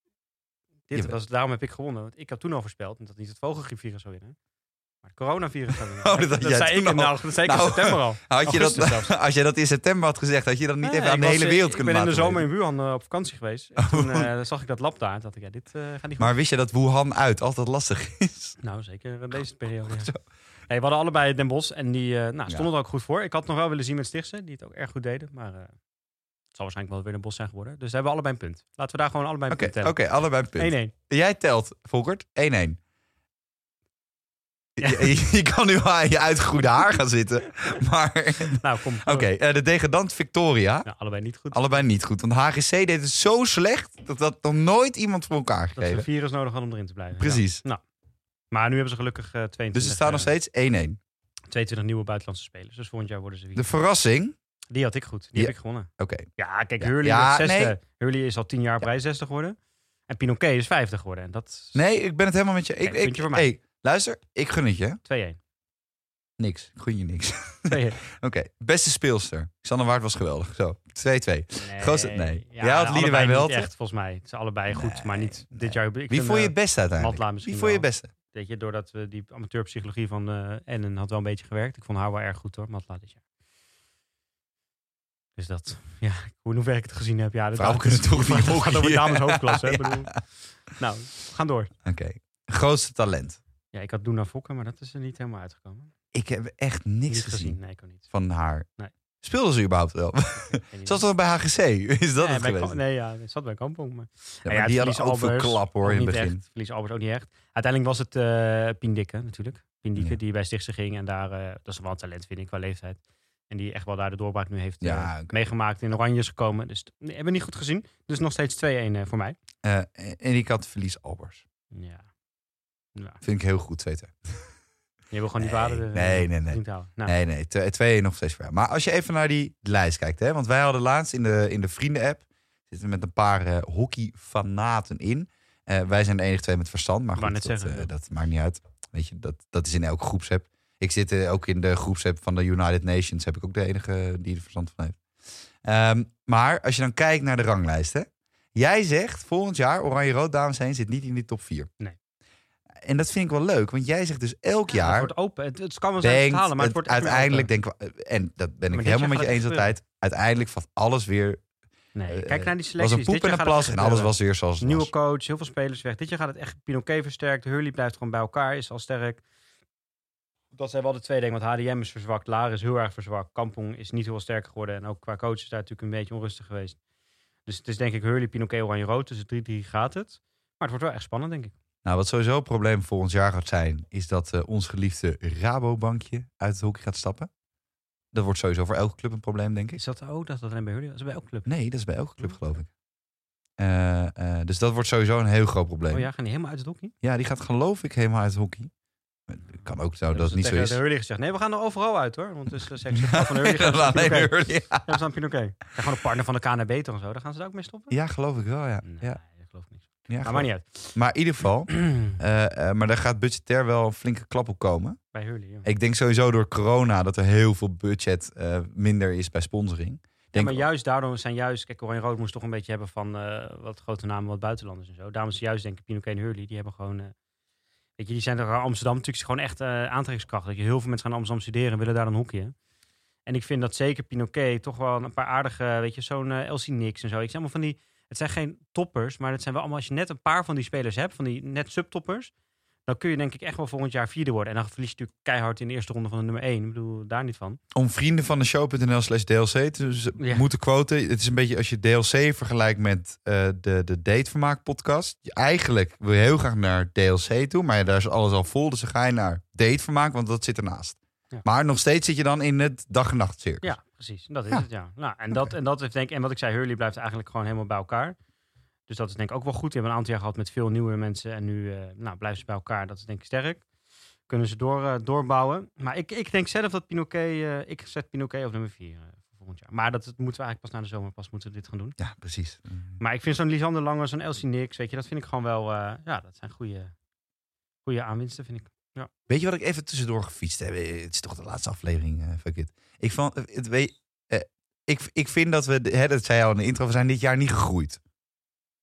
S1: Dit
S2: Jawel.
S1: was, daarom heb ik gewonnen. Want ik had toen al voorspeld dat niet het vogelgriepvirus zou winnen. Maar het coronavirus zou winnen.
S2: Oh, dat had jij
S1: zei
S2: toen
S1: ik in,
S2: al.
S1: nou, dat zei ik in
S2: Nou,
S1: september al.
S2: Had je
S1: Augustus
S2: dat, als jij dat in september had gezegd, had je dat niet
S1: Nee,
S2: even aan
S1: ik
S2: de
S1: was,
S2: hele
S1: eh,
S2: wereld
S1: Ik
S2: kunnen
S1: ben in de
S2: laten
S1: zomer
S2: weten. Oh.
S1: in Wuhan eh, op vakantie geweest. En toen eh, zag ik dat lab daar. en dacht ik, ja, dit eh, gaat niet goed.
S2: Maar wist je dat Wuhan uit altijd lastig is?
S1: Nou, zeker in deze periode. ja.
S2: Zo.
S1: Nee, we hadden allebei Den Bos en die eh, nou, stonden er ook goed voor. Ik had het nog wel willen zien met Stichtse, die het ook erg goed deden. Maar eh, het zal waarschijnlijk wel weer Den Bos zijn geworden. Dus daar hebben we allebei een punt. Laten we daar gewoon allebei een
S2: Oké,
S1: punt
S2: oké, allebei een punt.
S1: tellen. 1-1.
S2: Jij telt, Volkert, 1-1. Je, je kan nu al aan je uitgegroeide haar gaan zitten. Maar oké,
S1: Nou, kom.
S2: eh, de degradant Victoria.
S1: Nou, allebei niet goed.
S2: Allebei niet goed. Want HGC deed het zo slecht dat dat nog nooit iemand voor elkaar
S1: Dat ze een
S2: gegeven.
S1: virus nodig hadden om erin te blijven. Ja.
S2: Precies.
S1: Maar nu hebben ze gelukkig eh 22,
S2: Dus er staat
S1: eh,
S2: nog steeds 1-1.
S1: 22 nieuwe buitenlandse spelers. Dus volgend jaar worden ze
S2: De
S1: weer.
S2: verrassing.
S1: Die had ik goed. Die
S2: Ja.
S1: heb ik gewonnen.
S2: Oké.
S1: Ja, kijk,
S2: Ja.
S1: Hurley
S2: Ja,
S1: werd zesde.
S2: nee.
S1: Hurley is al 10 jaar op rij 60 geworden. En Pinoquet is 50 geworden. En dat is
S2: Nee, ik ben het helemaal met je. Ik,
S1: Kijk,
S2: ik,
S1: puntje voor mij.
S2: hey, luister, ik gun het je.
S1: 2-1.
S2: Niks. Ik gun je niks.
S1: 2-1.
S2: Oké. Beste speelster. Xander Waard was geweldig. Zo. 2-2.
S1: Nee.
S2: Gozer- nee. Jij had
S1: allebei
S2: Liedewij wel,
S1: niet
S2: toch?
S1: echt, volgens mij. Het is allebei goed, maar niet
S2: Nee, nee.
S1: dit jaar. Ik
S2: Wie
S1: vind,
S2: vond je
S1: eh,
S2: het beste uiteindelijk?
S1: Matla misschien
S2: Wie vond je het
S1: wel.
S2: beste?
S1: Weet je, doordat we die amateurpsychologie van eh Ennen had wel een beetje gewerkt. Ik vond haar wel erg goed hoor, Matla dit jaar. Dus dat, ja, hoe hoever ik het gezien heb. Ja, dat
S2: Vrouwen kunnen toch niet
S1: Het gaat over
S2: hockey.
S1: dames hoofdklasse. hè,
S2: Ja.
S1: bedoel. Nou, we gaan door.
S2: Oké. Grootste talent.
S1: Ja, ik had Doena Fokker, maar dat is er niet helemaal uitgekomen.
S2: Ik heb echt niks
S1: Niet
S2: gezien,
S1: Nee, ik ook niet.
S2: van haar.
S1: Nee.
S2: Speelden ze überhaupt wel?
S1: Geen
S2: Zat ze
S1: idee.
S2: nog bij HGC? Is dat
S1: nee,
S2: het
S1: bij
S2: geweest?
S1: Kam- Nee, ja, het zat bij Kampong. Maar
S2: Ja, maar
S1: ja,
S2: die
S1: het
S2: hadden ook
S1: verlies
S2: veel
S1: Albers,
S2: klap hoor in
S1: ook
S2: het
S1: niet
S2: begin.
S1: echt. Verlies Albert ook niet echt. Uiteindelijk was het eh Pien Dikke natuurlijk. Pien Dikke
S2: Ja.
S1: die bij Stichtse ging en daar, eh, dat is wel een talent vind ik qua leeftijd. En die echt wel daar de doorbraak nu heeft eh,
S2: Ja, oké.
S1: meegemaakt. In oranje is gekomen. Dus t- nee, hebben we niet goed gezien. Dus nog steeds 2-1 eh, voor mij.
S2: Eh, en ik had verlies Albers.
S1: Ja. ja.
S2: Vind ik heel goed, 2-2.
S1: Je wil gewoon die
S2: Nee,
S1: waarde er, eh,
S2: nee, nee, nee.
S1: niet houden. Nou,
S2: Nee, nee, tw- twee nog steeds voor jou. Maar als je even naar die lijst kijkt, hè, want wij hadden laatst in de, in de vrienden-app zitten we met een paar eh, hockeyfanaten in. Eh, wij zijn de enige twee met verstand, maar
S1: Ik
S2: goed,
S1: wou
S2: dat,
S1: net zeggen,
S2: eh,
S1: ja.
S2: dat maakt niet uit. Weet je, dat, dat is in elke groepsapp. Ik zit eh, ook in de groepsapp van de United Nations, heb ik ook de enige die er verstand van heeft. Ehm, maar als je dan kijkt naar de ranglijst, hè, Jij zegt volgend jaar Oranje-Rood, dames heen, zit niet in de top 4.
S1: Nee.
S2: En dat vind ik wel leuk, want jij zegt dus elk
S1: Het
S2: jaar.
S1: wordt open. Het, het kan wel zijn dat ze het
S2: Denkt,
S1: halen, maar het
S2: het
S1: wordt echt weer
S2: uiteindelijk denk ik, en dat ben ik
S1: dit
S2: helemaal
S1: jaar
S2: met je
S1: gaat
S2: eens
S1: het
S2: altijd. Uiteindelijk vat alles weer.
S1: open. Nee,
S2: eh,
S1: kijk naar die
S2: Was
S1: selecties.
S2: een poep
S1: Dit
S2: en
S1: jaar
S2: een
S1: gaat
S2: plas
S1: het
S2: en
S1: echt
S2: alles
S1: gebeuren.
S2: was weer zoals het
S1: Nieuwe
S2: was.
S1: coach, heel veel spelers weg. Dit jaar gaat het echt. Pinoquet versterkt. Hurley blijft gewoon bij elkaar, is al sterk. Dat zijn wel de twee dingen, want HDM is verzwakt. Lara is heel erg verzwakt. Kampong is niet heel sterk geworden. En ook qua coach is daar natuurlijk een beetje onrustig geweest. Dus het is denk ik Hurley, Pinoquet, Oranje-Rood. Dus 3-3 gaat het. Maar het wordt wel echt spannend, denk ik.
S2: Nou, wat sowieso een probleem volgend jaar gaat zijn, is dat eh, ons geliefde Rabobankje uit het hockey gaat stappen. Dat wordt sowieso voor elke club een probleem, denk ik.
S1: Is dat ook dat dat alleen bij Hurley was? Bij elke club.
S2: Nee, dat is bij elke
S1: Oh.
S2: club, geloof ik. Eh, eh, dus dat wordt sowieso een heel groot probleem.
S1: Oh
S2: ja.
S1: ja, gaan die helemaal uit het hockey?
S2: die gaat geloof ik helemaal uit het hockey. Maar het Kan ook zo Nou, dat het
S1: Hebben
S2: niet
S1: ze dus
S2: zo
S1: tegen
S2: is.
S1: de Hurley gezegd. Nee, we gaan er overal uit hoor. Want dus eh, zeggen ze van de Hurley gaan ze
S2: Ja,
S1: naar
S2: alleen
S1: Pinoquet.
S2: Hurley, ja.
S1: Hebben ze aan Pinoquet. Ja, Gewoon een partner van de KNB toch en zo. Daar gaan ze daar ook mee stoppen?
S2: Ja, geloof ik wel, ja.
S1: Nee,
S2: ja,
S1: dat geloof ik niet.
S2: ja
S1: Nou, Maar
S2: geloof-
S1: maakt niet uit.
S2: Maar in ieder geval, eh, eh, maar daar gaat budgetair wel een flinke klap op komen.
S1: Bij Hurley, ja.
S2: Ik denk sowieso door corona dat er heel veel budget eh, minder is bij sponsoring.
S1: Ja,
S2: Denk
S1: maar juist daardoor zijn juist... Kijk, Oranje Rood moest toch een beetje hebben van eh, wat grote namen, wat buitenlanders en zo. Daarom is juist, denk ik, Pinoquet en Hurley, die hebben gewoon... eh, weet je, die zijn er aan Amsterdam natuurlijk gewoon echt eh, aantrekkingskracht. Dat je heel veel mensen gaan naar Amsterdam studeren en willen daar een hoekje. En ik vind dat zeker Pinoquet toch wel een paar aardige, weet je, zo'n eh, LC Nix en zo. Ik zeg allemaal van die... Het zijn geen toppers, maar het zijn wel allemaal... Als je net een paar van die spelers hebt, van die net subtoppers... Dan kun je denk ik echt wel volgend jaar vierde worden. En dan verlies je natuurlijk keihard in de eerste ronde van de nummer één. Ik bedoel, daar niet van.
S2: om vrienden van de show.nl slash DLC te z-
S1: Ja.
S2: moeten quoten. Het is een beetje als je DLC vergelijkt met eh, de, de Datevermaak podcast. Je- Eigenlijk wil je heel graag naar DLC toe, maar ja, daar is alles al vol. Dus dan ga je naar Datevermaak, want dat zit ernaast.
S1: Ja.
S2: Maar nog steeds zit je dan in het dag en nacht circus.
S1: Ja, precies. Dat is
S2: Ja.
S1: het, ja. Nou, en, dat, en, dat is, denk, ik- en wat ik zei, Hurley blijft eigenlijk gewoon helemaal bij elkaar. Dus dat is denk ik ook wel goed. We hebben een aantal jaar gehad met veel nieuwe mensen. En nu eh, nou, blijven ze bij elkaar. Dat is denk ik sterk. Kunnen ze door, eh, doorbouwen. Maar ik, ik denk zelf dat Pinoquet... eh, ik zet Pinoquet op nummer 4 voor volgend jaar. Maar dat, dat moeten we eigenlijk pas na de zomer pas moeten we dit gaan doen.
S2: Ja, precies.
S1: Maar ik vind zo'n Lisander Lange, zo'n Elsie Nix, weet je, dat vind ik gewoon wel... eh, ja, dat zijn goede, goede aanwinsten, vind ik.
S2: Weet je wat ik even tussendoor gefietst heb? Eh, Het is toch de laatste aflevering, eh, fuck it. Ik, van, het, weet, eh, ik, ik vind dat we, de- hè, dat zei je al in de intro, we zijn dit jaar niet gegroeid.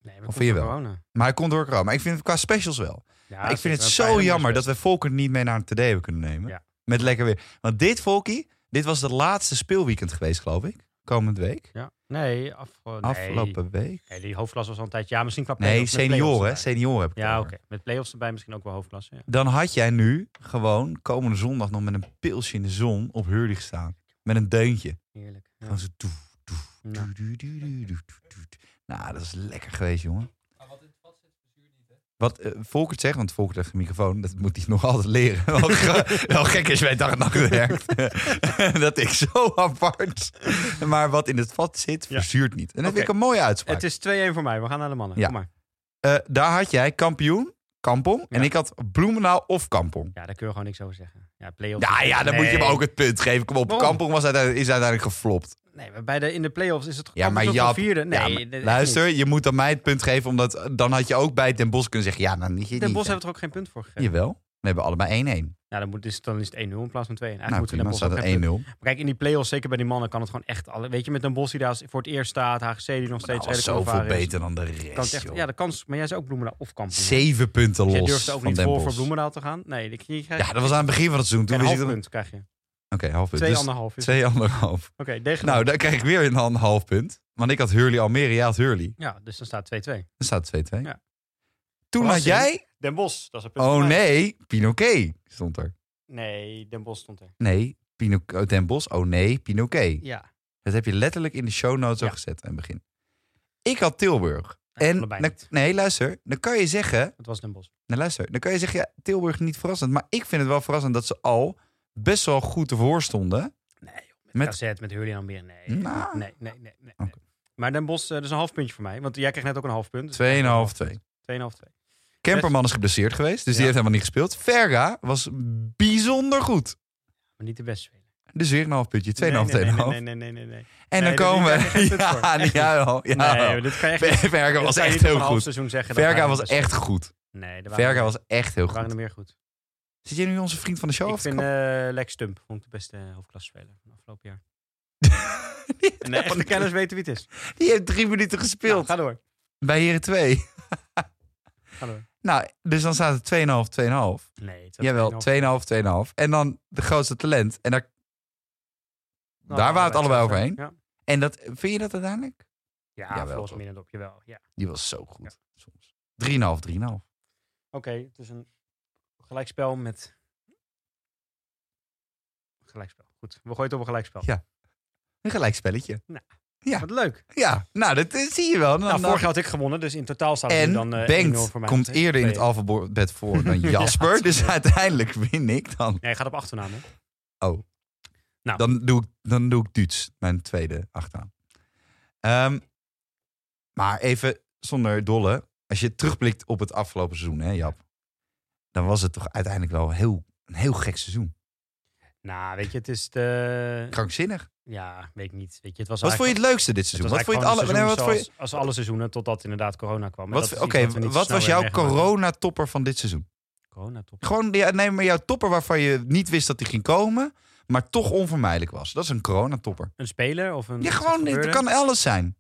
S1: Nee,
S2: Of vind je wel?
S1: eh,
S2: Maar hij komt door corona. Maar ik vind het qua specials wel. Maar ik vind het zo jammer dat we Volker niet mee naar een TD hebben kunnen nemen.
S1: Ja.
S2: Met lekker weer. Want dit Volkie, dit was het laatste speelweekend geweest, geloof ik. Komend week.
S1: Ja. Nee, af, nee.
S2: Afgelopen week.
S1: Nee, die hoofdklasse was al een tijdje. Ja, misschien qua
S2: Nee,
S1: play-offs, met
S2: senioren. hè?
S1: play-offs erbij.
S2: Senioren heb ik het
S1: Ja, oké.
S2: over.
S1: Met play-offs erbij misschien ook wel hoofdklasse. Ja.
S2: Dan had jij nu gewoon komende zondag nog met een pilsje in de zon op Hurley gestaan. Met een deuntje.
S1: Heerlijk. Ja.
S2: Gewoon zo doe, doe,
S1: Nou.
S2: doe, doe, doe, doe, doe, doe, doe. Nou, dat is lekker geweest, jongen. Wat eh, Volkert zegt, want Volkert heeft een microfoon, dat moet hij nog altijd leren. Wel, ge- wel gek is bij dag en nacht werkt. dat ik zo apart. Maar wat in het vat zit,
S1: Ja.
S2: verzuurt niet. En dat
S1: Oké.
S2: vind ik een mooie uitspraak.
S1: Het is 2-1 voor mij. We gaan naar de mannen.
S2: Ja.
S1: Kom maar.
S2: Eh, daar had jij kampioen, Kampong. En
S1: Ja.
S2: ik had Bloemenau of Kampong.
S1: Ja, daar kun je gewoon niks over zeggen. Ja, play-offs.
S2: Nou ja, dan moet je
S1: Nee.
S2: hem ook het punt geven. Kom op,
S1: Waarom?
S2: Kampong was uiteindelijk, is uiteindelijk geflopt.
S1: Nee, maar bij de, in de play-offs is het
S2: Ja, maar
S1: toch wel
S2: Jap-
S1: vierde. Nee,
S2: Ja, maar
S1: dat- echt
S2: luister,
S1: niet.
S2: je moet dan mij het punt geven, omdat eh, dan had je ook bij Den Bos kunnen zeggen, ja, nou niet je
S1: Den
S2: niet,
S1: Bos
S2: hè.
S1: hebben er ook geen punt voor gegeven.
S2: Jawel, we hebben allebei 1-1.
S1: Ja, dan, moet, is het- dan is het 1-0 in plaats van 2-1. Eigenlijk
S2: Nou,
S1: moeten we
S2: prima,
S1: Den Bos ook
S2: staat
S1: geen
S2: het 1-0.
S1: punt- Maar Kijk, in die play-offs, zeker bij die mannen, kan het gewoon echt... Alle, weet je, met Den Bos die daar voor het eerst staat, HGC die nog
S2: Dat
S1: steeds
S2: was
S1: redelijk
S2: Nou, zoveel
S1: onervaren is,
S2: beter dan de
S1: Kan het
S2: rest,
S1: echt,
S2: joh.
S1: ja, de kans... Maar jij zei ook Bloemendaal of Kampong.
S2: Zeven punten
S1: Dus
S2: los
S1: jij durft ook
S2: van
S1: niet
S2: Den
S1: voor
S2: Bos.
S1: voor Bloemendaal te gaan? Nee, die, die krijg
S2: Ja, dat was aan het begin van het seizoen. Toen
S1: Een
S2: wist
S1: half
S2: ik dat-
S1: punt krijg je.
S2: Oké, half punt.
S1: Twee
S2: Dus
S1: anderhalf. is-
S2: twee anderhalf.
S1: Oké, degelijk.
S2: Nou, daar krijg ik weer een half punt. Want ik had Hurley Almere, jij had Hurley.
S1: Ja, dus dan staat 2-2.
S2: Dan staat het 2-2.
S1: Ja.
S2: Toen had
S1: Verrassing.
S2: jij...
S1: Den Bos, dat is een punt.
S2: Oh
S1: voor mij.
S2: nee, Pinoquet stond er.
S1: Nee, Den Bos stond er.
S2: Nee, Pinoquet, Den Bos. Oh nee, Pinoquet.
S1: Ja.
S2: Dat heb je letterlijk in de show notes al
S1: Ja.
S2: gezet aan het begin. Ik had Tilburg. en
S1: allebei
S2: dan-
S1: niet.
S2: nee, luister. Dan kan je zeggen,
S1: Het was Den Bos.
S2: nou luister, dan kan je zeggen, ja, Tilburg niet verrassend. Maar ik vind het wel verrassend dat ze al best wel goed ervoor stonden.
S1: Met
S2: Met-
S1: KZ, met Hurley en Almere. Nee.
S2: Nou.
S1: Nee, nee, nee. nee,
S2: Oké.
S1: Maar Den Bos, eh, dat is een half puntje voor mij. Want jij kreeg net ook een half punt. Dus
S2: 2,5, 2.
S1: 2,5, 2.
S2: Kemperman is geblesseerd geweest, dus
S1: Ja.
S2: die heeft helemaal niet gespeeld. Verga was bijzonder goed.
S1: Maar niet de beste speler.
S2: Dus weer een half puntje, 2,5, 2,5.
S1: nee, nee, nee, nee, nee, nee, nee. Nee,
S2: En dan
S1: dit- dit
S2: komen
S1: krijg je geen
S2: we...
S1: punt voor.
S2: Ja,
S1: Echt
S2: ja, wel, ja,
S1: Nee,
S2: wel.
S1: maar dit kan je echt niet-
S2: Nou. Verga
S1: dit
S2: was
S1: kan je
S2: echt
S1: niet op
S2: heel
S1: een half
S2: goed.
S1: seizoen zeggen. dat
S2: Verga
S1: hij de
S2: was
S1: beste-
S2: echt goed.
S1: Nee, er waren,
S2: Verga was echt heel
S1: er waren
S2: goed.
S1: er meer goed.
S2: Zit jij nu onze vriend van de show
S1: Ik
S2: af te
S1: vind
S2: kappen?
S1: eh, Lex Stump vond ik de beste eh, hoofdklassespeler van afgelopen jaar. En de echte kenners weten wie het is.
S2: Die heeft drie minuten
S1: Nou,
S2: gespeeld.
S1: ga door.
S2: bij heren 2.
S1: Hallo.
S2: Nou, dus dan staat het 2,5, 2,5.
S1: Nee, het was
S2: Jawel,
S1: 2,5.
S2: 2,5, 2,5. En dan de grootste talent. En, daar,
S1: Nou,
S2: daar waren het allebei overheen.
S1: Ja,
S2: en dat, vind je dat uiteindelijk?
S1: ja
S2: Jawel,
S1: volgens
S2: toch?
S1: minder op je wel. Ja.
S2: Die was zo goed.
S1: Ja.
S2: Soms. 3,5, 3,5.
S1: Oké, het is een gelijkspel met. Gelijkspel. Goed, we gooien het op een gelijkspel.
S2: Ja. Een gelijkspelletje. Ja.
S1: Wat leuk.
S2: Ja, nou, dat eh, zie je wel. Dan-
S1: Nou,
S2: dan-
S1: vorig jaar had ik gewonnen, dus in totaal staat het nu
S2: en
S1: dan eh, 1-0
S2: Bengt
S1: voor mij.
S2: komt eerder in het
S1: Nee.
S2: alfabet voor dan
S1: Ja,
S2: Jasper. dus
S1: tuurlijk.
S2: uiteindelijk win ik dan.
S1: Nee, je gaat op achternaam. Hè?
S2: Dan doe ik, dan doe ik Duits, mijn tweede achternaam. Ehm, maar even zonder dolle. Als je terugblikt op het afgelopen seizoen, hè Jap. Dan was het toch uiteindelijk wel heel, een heel gek seizoen.
S1: Nou, weet je, het is de.
S2: Krankzinnig.
S1: Ja, weet ik niet. Weet je, het was
S2: Wat vond je het leukste dit seizoen? Wat vond je het alle, nee, wat vond je,
S1: Als alle seizoenen, totdat inderdaad corona kwam. En
S2: wat,
S1: dat is
S2: Oké,
S1: iets we niet
S2: wat
S1: snel
S2: was
S1: weer
S2: jouw
S1: meegemaakt
S2: coronatopper van dit seizoen?
S1: hebben. Corona, top.
S2: Gewoon, ja, nee, maar jouw topper waarvan je niet wist dat die ging komen, maar toch onvermijdelijk was. Dat is een coronatopper.
S1: Een speler of een.
S2: Ja,
S1: iets wat
S2: gewoon, het
S1: gebeurde?
S2: kan alles zijn.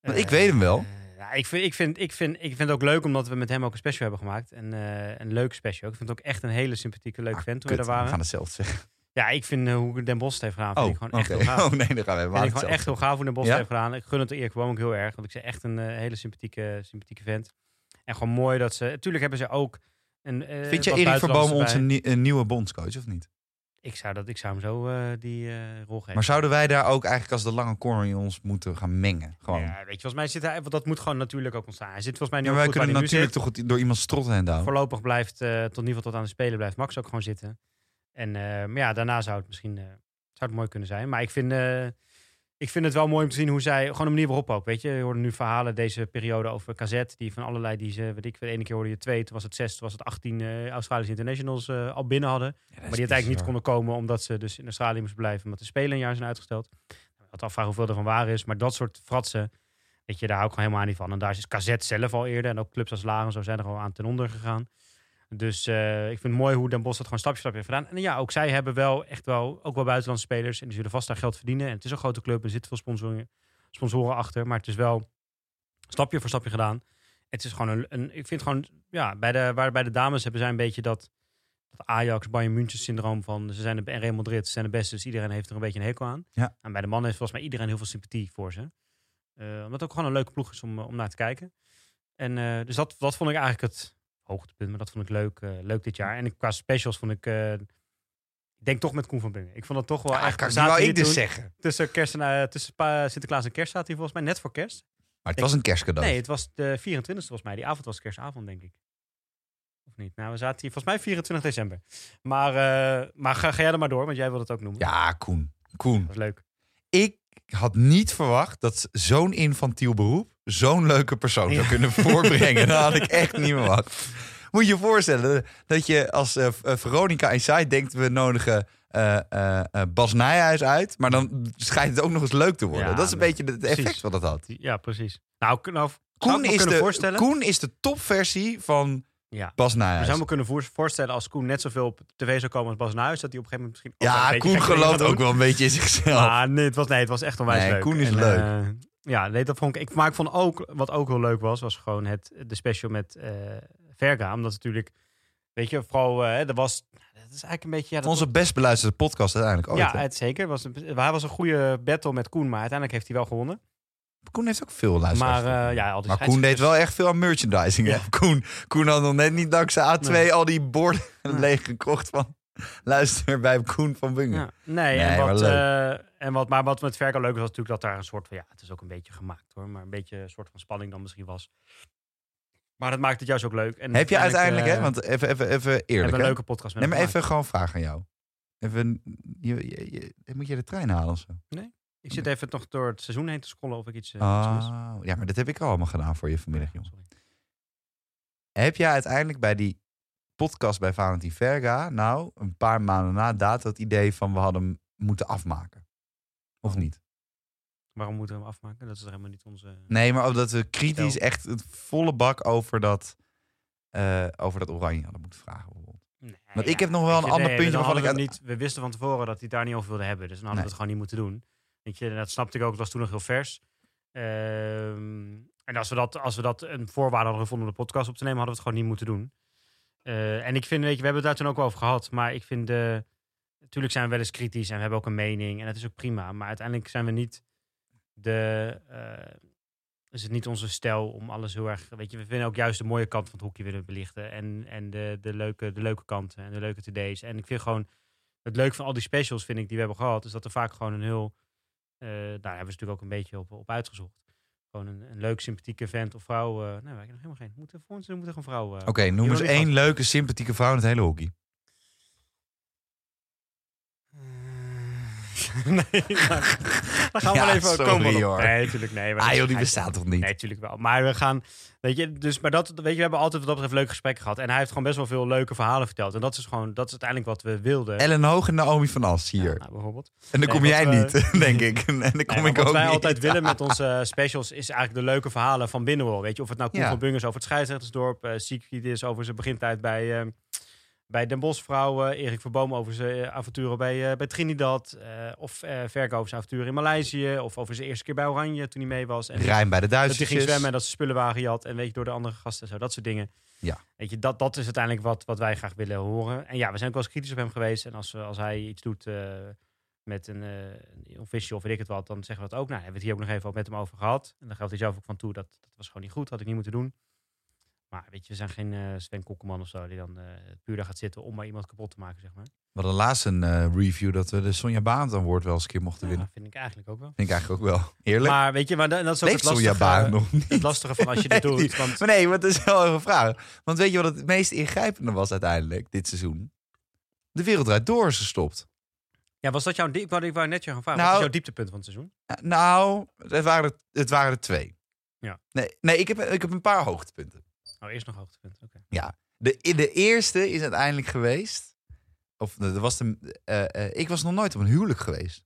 S2: want ik
S1: Eh,
S2: weet hem wel.
S1: eh, ja, ik, vind, ik, vind, ik, vind, ik vind het ook leuk omdat we met hem ook een special hebben gemaakt. En, eh, een leuk special. Ik vind het ook echt een hele sympathieke, leuke
S2: Ah,
S1: vent toen
S2: Kut,
S1: we
S2: we
S1: daar waren.
S2: gaan hetzelfde zeggen.
S1: Ja, ik vind eh, hoe Den Bos het heeft gedaan, vind
S2: Oh,
S1: ik gewoon echt
S2: oké.
S1: heel gaaf.
S2: Oh nee, dan gaan we helemaal
S1: Vind ik gewoon
S2: hetzelfde.
S1: echt heel gaaf hoe Den Bos
S2: Ja?
S1: het heeft gedaan. Ik gun het Erik Boom ook heel erg. Want ik ze echt een eh, hele sympathieke, sympathieke vent. En gewoon mooi dat ze... Natuurlijk hebben ze ook... Een, eh,
S2: Vind je
S1: wat
S2: Erik
S1: buitenlanders
S2: Verboom onze
S1: erbij.
S2: nie- een nieuwe bondscoach of niet?
S1: Ik zou, dat, ik zou hem zo eh, die eh, rol geven.
S2: Maar zouden wij daar ook eigenlijk als de lange corner in ons moeten gaan mengen? Gewoon.
S1: Ja, weet je, volgens mij zit hij... Want dat moet gewoon natuurlijk ook ontstaan. Hij zit volgens mij nu
S2: Ja,
S1: ook
S2: wij
S1: goed waar
S2: kunnen
S1: hij nu zit.
S2: natuurlijk toch goed door iemand strot heen houden.
S1: Voorlopig blijft, eh, tot in ieder geval tot aan de Spelen, blijft Max ook gewoon zitten. En eh, maar ja, daarna zou het misschien eh, zou het mooi kunnen zijn. Maar ik vind, eh, ik vind het wel mooi om te zien hoe zij, gewoon de manier waarop ook. Weet je, je hoorde nu verhalen deze periode over Kazet, die van allerlei, die ze, weet ik, de ene keer hoorde je twee, toen was het zes, toen was het achttien eh, Australische internationals eh, al binnen hadden. Maar die uiteindelijk niet konden komen omdat ze dus in Australië moesten blijven. Omdat de Spelen een jaar zijn uitgesteld. Ik had afvragen hoeveel ervan waar is. Maar dat soort fratsen, weet je, daar hou ik gewoon helemaal niet van. En daar is Kazet zelf al eerder. En ook clubs als Laren zo zijn er al aan ten onder gegaan. Dus eh, ik vind het mooi hoe Den Bosch dat gewoon stapje voor stapje heeft gedaan. En ja, ook zij hebben wel echt wel, ook wel buitenlandse spelers. En die zullen vast daar geld verdienen. En het is een grote club. En er zitten veel sponsoren, sponsoren achter. Maar het is wel stapje voor stapje gedaan. Het is gewoon een, een ik vind gewoon, ja, bij de, waar bij de dames hebben zij een beetje dat dat Ajax, Bayern München syndroom van ze zijn de, en Real Madrid ze zijn de beste, dus iedereen heeft er een beetje een hekel aan.
S2: Ja.
S1: En bij de mannen heeft volgens mij iedereen heel veel sympathie voor ze. Eh, omdat het ook gewoon een leuke ploeg is om, eh, om naar te kijken. En eh, dus dat, dat vond ik eigenlijk het hoogtepunt, maar dat vond ik leuk, eh, leuk dit jaar. En ik- qua specials vond ik, eh, ik denk toch met Koen van Bungen. Ik vond dat toch wel
S2: Ja,
S1: echt...
S2: kan
S1: we
S2: ik
S1: zaten
S2: nou
S1: hier
S2: ik dus
S1: toen
S2: zeggen.
S1: Tussen, kerst en, eh, tussen pa- Sinterklaas en kerst zaten hier volgens mij net voor kerst.
S2: Maar het was een kerstcadeau.
S1: Nee, het was de 24e volgens mij. Die avond was kerstavond, denk ik. Of niet? Nou, we zaten hier volgens mij 24 december. Maar, eh, maar ga, ga jij er maar door, want jij wil het ook noemen.
S2: Ja, Koen. Koen.
S1: Dat is leuk.
S2: Ik had niet verwacht dat zo'n infantiel beroep zo'n leuke persoon zou
S1: Ja.
S2: kunnen voorbrengen. Dat had ik echt niet verwacht. Moet je je voorstellen dat je als eh, eh, Veronica Inside denkt... we nodigen eh, eh, eh, Bas Nijhuis uit, maar dan schijnt het ook nog eens leuk te worden.
S1: Ja,
S2: dat is een
S1: nee,
S2: beetje het
S1: precies.
S2: effect wat dat had.
S1: Die- Ja, precies. Nou, kun- nou zou ik
S2: Koen
S1: me
S2: is,
S1: kunnen
S2: de,
S1: voorstellen.
S2: Koen is de topversie van
S1: Ja.
S2: Bas
S1: We
S2: Nijhuis.
S1: zouden me kunnen voor- voorstellen als Koen net zoveel op tv zou komen als Bas Nuis, dat hij op een gegeven moment misschien... ook wel
S2: Ja,
S1: een beetje
S2: Koen
S1: gekke dingen
S2: gelooft
S1: gaat
S2: ook wel een beetje in
S1: doen.
S2: zichzelf.
S1: Maar nee, het was, nee, het was echt onwijs
S2: Nee,
S1: leuk.
S2: Koen is leuk.
S1: eh, ja, nee, dat vond ik, ik... Maar ik vond ook, wat ook heel leuk was, was gewoon het, de special met eh, Verga. Omdat natuurlijk, weet je, vooral, eh, er was... Dat is eigenlijk een beetje... Ja, dat
S2: Onze best beluisterde podcast uiteindelijk ooit.
S1: ja,
S2: hè?
S1: het zeker. Was een, hij was een goede battle met Koen, maar uiteindelijk heeft hij wel gewonnen.
S2: Koen heeft ook veel luisteraars.
S1: maar eh, ja, al die
S2: Maar Koen deed
S1: scheidsrechters-
S2: wel echt veel aan merchandising. hè?
S1: Ja.
S2: Koen, Koen had nog net niet dankzij A2
S1: Nee.
S2: al die borden
S1: Nee.
S2: leeg gekocht van... Luister bij Koen van Bungen.
S1: Ja. Nee,
S2: Nee,
S1: en
S2: maar
S1: wat,
S2: leuk.
S1: eh, en wat, maar wat met Verka leuk was, was natuurlijk dat daar een soort van... Ja, het is ook een beetje gemaakt hoor, maar een beetje een soort van spanning dan misschien was. Maar dat maakt het juist ook leuk. En
S2: Heb je uiteindelijk, hè?
S1: eh,
S2: Want even, even, even
S1: hebben we
S2: eerlijk,
S1: een
S2: hè?
S1: leuke podcast met
S2: Nee, maar
S1: hem
S2: even gewoon een vraag aan jou. Even, je, je- je- moet je de trein halen of zo?
S1: gemaakt. Ik zit even nog door het seizoen heen te scrollen of ik iets, eh, iets mis.
S2: Oh, ja, maar dat heb ik al allemaal gedaan voor je vanmiddag, jongen.
S1: Sorry.
S2: Heb jij uiteindelijk bij die podcast bij Valentin Verga... nou, een paar maanden na dato het idee van we hadden hem moeten afmaken? Of
S1: Waarom?
S2: niet?
S1: Waarom moeten we hem afmaken? Dat is er helemaal niet onze...
S2: Nee, maar omdat we kritisch
S1: Stel.
S2: echt het volle bak over dat, eh, over dat oranje hadden moeten vragen. bijvoorbeeld.
S1: Nee,
S2: Want ik heb nog wel
S1: weet
S2: een
S1: je,
S2: ander
S1: nee,
S2: puntje
S1: dan
S2: waarvan
S1: hadden
S2: ik
S1: we hem niet. We wisten van tevoren dat hij het daar niet over wilde hebben. Dus dan hadden we het gewoon niet moeten doen. Weet je, en dat snapte ik ook. Het was toen nog heel vers. Ehm, En als we, dat, als we dat een voorwaarde hadden gevonden om de podcast op te nemen, hadden we het gewoon niet moeten doen. Eh, en ik vind, weet je, we hebben het daar toen ook wel over gehad. Maar ik vind, eh, natuurlijk zijn we wel eens kritisch en we hebben ook een mening. En dat is ook prima. Maar uiteindelijk zijn we niet de, eh, is het niet onze stijl om alles heel erg, weet je, we vinden ook juist de mooie kant van het hoekje willen belichten. En, en de, de, leuke, de leuke kanten en de leuke today's. En ik vind gewoon, het leuke van al die specials vind ik die we hebben gehad, is dat er vaak gewoon een heel, eh, daar hebben ze natuurlijk ook een beetje op, op uitgezocht. Gewoon een, een leuk, sympathieke vent of vrouw. eh nee, wij hebben nog helemaal geen. Moeten voor ons doen, moet er een vrouw. eh,
S2: Oké, noem eens
S1: Jullie
S2: één
S1: gaan-
S2: leuke, sympathieke vrouw in het hele hockey.
S1: nee, maar- daar gaan we
S2: Ja,
S1: wel even
S2: sorry,
S1: komen. we wel op.
S2: hoor.
S1: Nee, natuurlijk nee. maar
S2: Ah
S1: dat
S2: joh,
S1: is
S2: die
S1: een
S2: bestaat toch niet?
S1: Nee, natuurlijk wel. Maar we gaan, weet je, dus, maar dat, weet je, we hebben altijd wat dat betreft leuke gesprekken gehad. En hij heeft gewoon best wel veel leuke verhalen verteld. En dat is gewoon, dat is uiteindelijk wat we wilden.
S2: Ellen Hoog en Naomi van As hier.
S1: Ja, nou, bijvoorbeeld.
S2: en dan
S1: nee,
S2: kom
S1: wat
S2: jij
S1: we-
S2: niet, denk ik. En dan kom
S1: Nee, maar
S2: ik
S1: wat
S2: ook
S1: wij
S2: niet.
S1: altijd willen met onze eh, specials is eigenlijk de leuke verhalen van binnenwol. Weet je, of het nou Koen
S2: Ja.
S1: van Bungers over het scheidsrechtersdorp, eh Siegfried is over zijn begintijd bij, eh bij Den Bosch vrouwen, Erik Verboom over zijn eh, avonturen bij, eh, bij Trinidad, eh, of eh Verko over zijn avonturen in Maleisië, of over zijn eerste keer bij Oranje toen hij mee was. En
S2: Rijn bij de
S1: dat hij
S2: Duitsers.
S1: ging zwemmen en dat ze spullenwagen had en weet je, door de andere gasten en zo, dat soort dingen.
S2: Ja.
S1: Weet je, dat, dat is uiteindelijk wat, wat wij graag willen horen. En ja, we zijn ook wel eens kritisch op hem geweest. En als, we- als hij iets doet eh, met een eh official of weet ik het wat, dan zeggen we dat ook. Nou, hebben we het hier ook nog even met hem over gehad. En dan geldt hij zelf ook van toe, dat, dat was gewoon niet goed, had ik niet moeten doen. Maar weet je, we zijn geen eh, Sven Kokkeman of zo, die dan eh, puur daar gaat zitten om maar iemand kapot te maken, zeg maar.
S2: We hadden laatst een eh, review dat we de Sonja Baan Award wel eens een keer mochten
S1: Ja,
S2: winnen.
S1: vind ik eigenlijk ook wel.
S2: Vind ik eigenlijk ook wel. Eerlijk.
S1: Maar weet je, maar da- dat is ook
S2: Leeft
S1: het
S2: Sonja
S1: lastige,
S2: Baan nog niet?
S1: het lastige van als je dit
S2: Nee,
S1: doet.
S2: die-
S1: Want
S2: Maar nee, want dat is wel een vraag. Want weet je wat het meest ingrijpende was uiteindelijk dit seizoen? De wereld Draait door is gestopt.
S1: Ja, was dat jouw... die- Ik wou, ik wou net je gaan vragen,
S2: Nou-
S1: wat is jouw dieptepunt van het seizoen?
S2: Eh, Nou, het waren er, het waren er twee.
S1: Ja.
S2: Nee, nee ik, heb, ik heb een paar hoogtepunten.
S1: Oh, eerst nog hoogtepunt. Oké.
S2: De, de eerste is uiteindelijk geweest. Of dat was de, eh, eh, ik was nog nooit op een huwelijk geweest.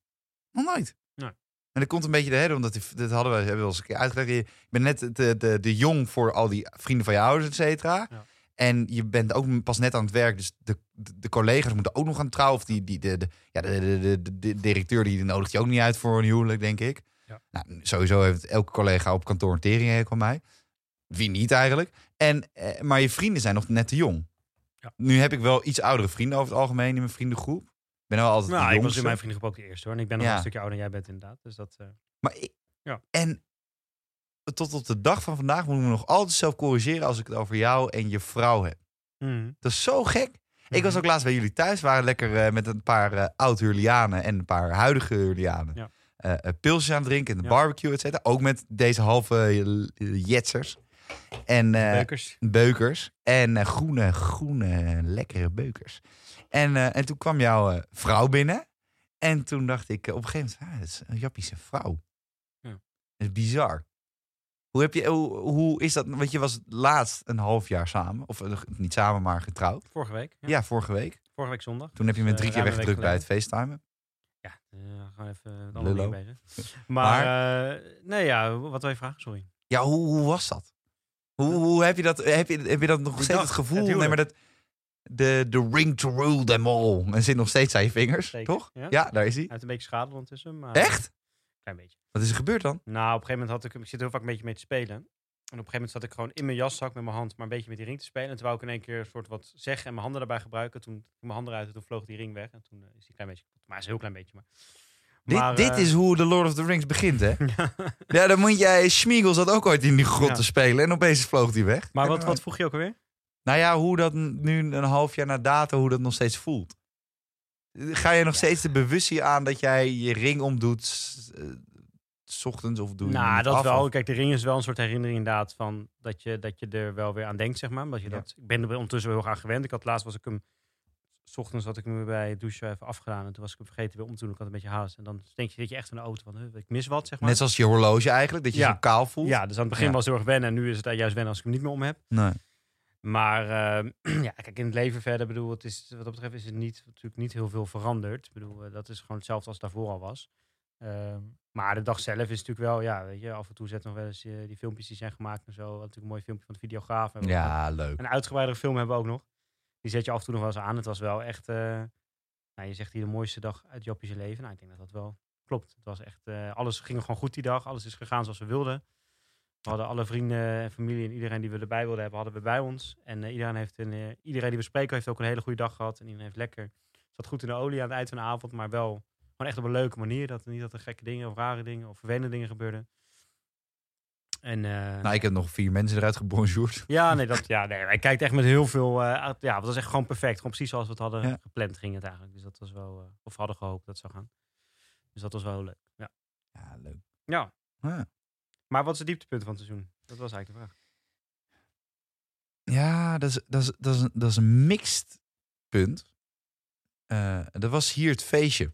S2: Nog nooit.
S1: Nee.
S2: En dat komt een beetje de reden, omdat die, dat hadden we, hebben we al eens een keer uitgelegd. Je bent net de, de, de jong voor al die vrienden van je ouders, et cetera.
S1: Ja.
S2: En je bent ook pas net aan het werk. Dus de, de, de collega's moeten ook nog gaan trouwen. Of die, die, de, de, ja, de, de, de, de- de directeur die nodigt je ook niet uit voor een huwelijk, denk ik.
S1: Ja.
S2: Nou, sowieso heeft elke collega op kantoor een tering van mij. Wie niet eigenlijk. En, eh, maar je vrienden zijn nog net te jong.
S1: Ja.
S2: Nu heb ik wel iets oudere vrienden over het algemeen in mijn vriendengroep. Ik ben wel altijd
S1: Nou,
S2: de
S1: ik was
S2: jongste.
S1: in mijn vriendengroep ook de eerste hoor. En ik ben nog
S2: Ja.
S1: wel een stukje ouder dan jij bent inderdaad. Dus dat... eh,
S2: Maar ik-
S1: Ja.
S2: En tot op de dag van vandaag moet ik me nog altijd zelf corrigeren als ik het over jou en je vrouw heb.
S1: Mhm.
S2: Dat is zo gek. Mhm. Ik was ook laatst bij jullie thuis. We waren lekker eh, met een paar eh, oud-Hurlianen en een paar huidige Hurlianen.
S1: Ja.
S2: Eh, eh, pilsjes aan het drinken, de
S1: Ja.
S2: barbecue, et cetera. Ook met deze halve eh, l- jetsers. En, eh,
S1: Beukers.
S2: beukers. En eh, groene, groene, lekkere beukers. En, eh, en toen kwam jouw eh, vrouw binnen. En toen dacht ik eh, op een gegeven moment, ah, dat is een Jappische vrouw.
S1: Ja.
S2: Dat is bizar. Hoe, heb je, hoe, hoe is dat? Want je was laatst een half jaar samen. Of eh, niet samen, maar getrouwd.
S1: Vorige week. Ja.
S2: Ja, vorige week.
S1: Vorige week zondag.
S2: Toen heb je me
S1: Dus,
S2: drie
S1: eh,
S2: keer
S1: ruim een week
S2: weggedrukt bij het facetimen.
S1: Ja, eh, gewoon even eh, met andere
S2: Lullo.
S1: dingen bezig. Maar, eh, nee ja, wat wij vragen, sorry.
S2: Ja, hoe, hoe was dat? Hoe, hoe heb, je dat, heb, je, heb je dat nog
S1: Die
S2: steeds
S1: dag,
S2: het gevoel?
S1: het
S2: nee,
S1: huwelijk.
S2: maar dat, de, de ring to rule them all. En zit nog steeds aan je vingers,
S1: Zeker,
S2: toch?
S1: ja.
S2: daar is hij.
S1: Hij heeft een beetje schade ondertussen, maar...
S2: Echt?
S1: Klein beetje.
S2: Wat is er gebeurd dan?
S1: Nou, op een gegeven moment had ik... Ik zit er heel vaak een beetje mee te spelen. En op een gegeven moment zat ik gewoon in mijn jaszak met mijn hand... maar een beetje met die ring te spelen. En toen wou ik in één keer een soort wat zeggen en mijn handen daarbij gebruiken. Toen ging mijn handen uit en toen vloog die ring weg. En toen eh, is die een klein beetje... kapot. Maar hij is een heel klein beetje, maar... Maar,
S2: dit, dit
S1: eh,
S2: is hoe de Lord of the Rings begint, hè? ja, dan moet jij... Schmiegel zat ook ooit in die grot
S1: Ja.
S2: te spelen en opeens vloog hij weg.
S1: Maar
S2: Ja,
S1: wat, wat vroeg je ook alweer?
S2: Nou ja, hoe dat nu een half jaar na data, hoe dat nog steeds voelt. Ga je nog steeds de bewustzijn aan dat jij je ring omdoet... s- eh, s ochtends of doe je hem
S1: Nou,
S2: niet
S1: dat
S2: af,
S1: wel.
S2: of-
S1: Kijk, de ring is wel een soort herinnering inderdaad van dat je, dat je er wel weer aan denkt, zeg maar. Omdat je
S2: Ja.
S1: dat, ik ben er ondertussen wel heel graag gewend. Ik had laatst was ik hem, s ochtends had ik hem bij het douchen even afgedaan en toen was ik hem vergeten weer om te doen. Ik had een beetje haast en dan denk je dat je echt een auto van, huh, ik mis wat, zeg maar.
S2: Net zoals je horloge eigenlijk, dat je
S1: Ja.
S2: zo kaal voelt.
S1: ja, dus aan het begin
S2: Ja.
S1: was het heel erg wennen en nu is het juist wennen als ik hem niet meer om heb.
S2: Nee.
S1: Maar eh, ja, kijk, in het leven verder, bedoel, het is, wat dat betreft is er niet, natuurlijk niet heel veel veranderd. Ik bedoel, eh, dat is gewoon hetzelfde als het daarvoor al was. Ehm, maar de dag zelf is natuurlijk wel, ja, weet je, af en toe zet nog wel eens eh, die filmpjes die zijn gemaakt en zo. We hadden natuurlijk een mooi filmpje van de videograaf. En we hadden
S2: Ja, leuk.
S1: Een uitgebreidere film hebben we ook nog. Die zet je af en toe nog wel eens aan. Het was wel echt, eh, nou, je zegt hier de mooiste dag uit Jappische leven. Nou, ik denk dat dat wel klopt. Het was echt, eh, alles ging gewoon goed die dag. Alles is gegaan zoals we wilden. We hadden alle vrienden en familie en iedereen die we erbij wilden hebben, hadden we bij ons. En eh, iedereen, heeft een, eh, iedereen die we spreken heeft ook een hele goede dag gehad. En iedereen heeft lekker. Zat goed in de olie aan het eind van de avond, maar wel gewoon echt op een leuke manier. Dat, niet dat er gekke dingen of rare dingen of vervelende dingen gebeurden. En, eh,
S2: Nou, ik heb nog vier mensen eruit gebonjourd.
S1: ja, nee, dat, ja, nee, hij kijkt echt met heel veel. eh, uit- ja, het was echt gewoon perfect. Gewoon precies zoals we het hadden
S2: Ja.
S1: gepland ging het eigenlijk. Dus dat was wel, eh, of hadden gehoopt dat het zou gaan. Dus dat was wel heel leuk. Ja.
S2: Ja, leuk.
S1: ja.
S2: Ah.
S1: Maar wat is het dieptepunt van het seizoen? Dat was eigenlijk de vraag.
S2: Ja, dat is, dat is, dat is, een, dat is een mixed punt. Eh, dat was hier het feestje.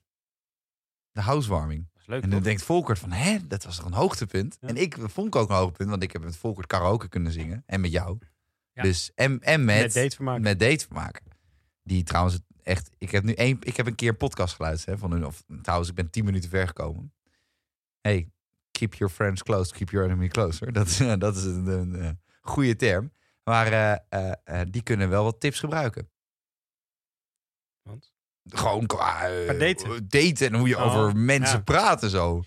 S2: De housewarming.
S1: Dat is leuk.
S2: En dan
S1: toch?
S2: denkt Volkert van, hè, dat was toch een hoogtepunt?
S1: Ja.
S2: En ik vond ik ook een hoogtepunt, want ik heb met Volkert karaoke kunnen zingen. En met jou.
S1: Ja.
S2: Dus, en, en met,
S1: Met datevermaak.
S2: met datevermaak. Die trouwens echt... Ik heb nu één, ik heb een keer een podcast geluisterd hè, van hun. Of, trouwens, ik ben tien minuten ver gekomen. Hey, keep your friends close, keep your enemy closer. Dat, is- dat is een, een, eh, goede term. Maar eh, eh, eh, die kunnen wel wat tips gebruiken.
S1: Want?
S2: Gewoon qua eh,
S1: Qua daten.
S2: daten en hoe je
S1: Oh,
S2: over mensen
S1: ja.
S2: praat en zo.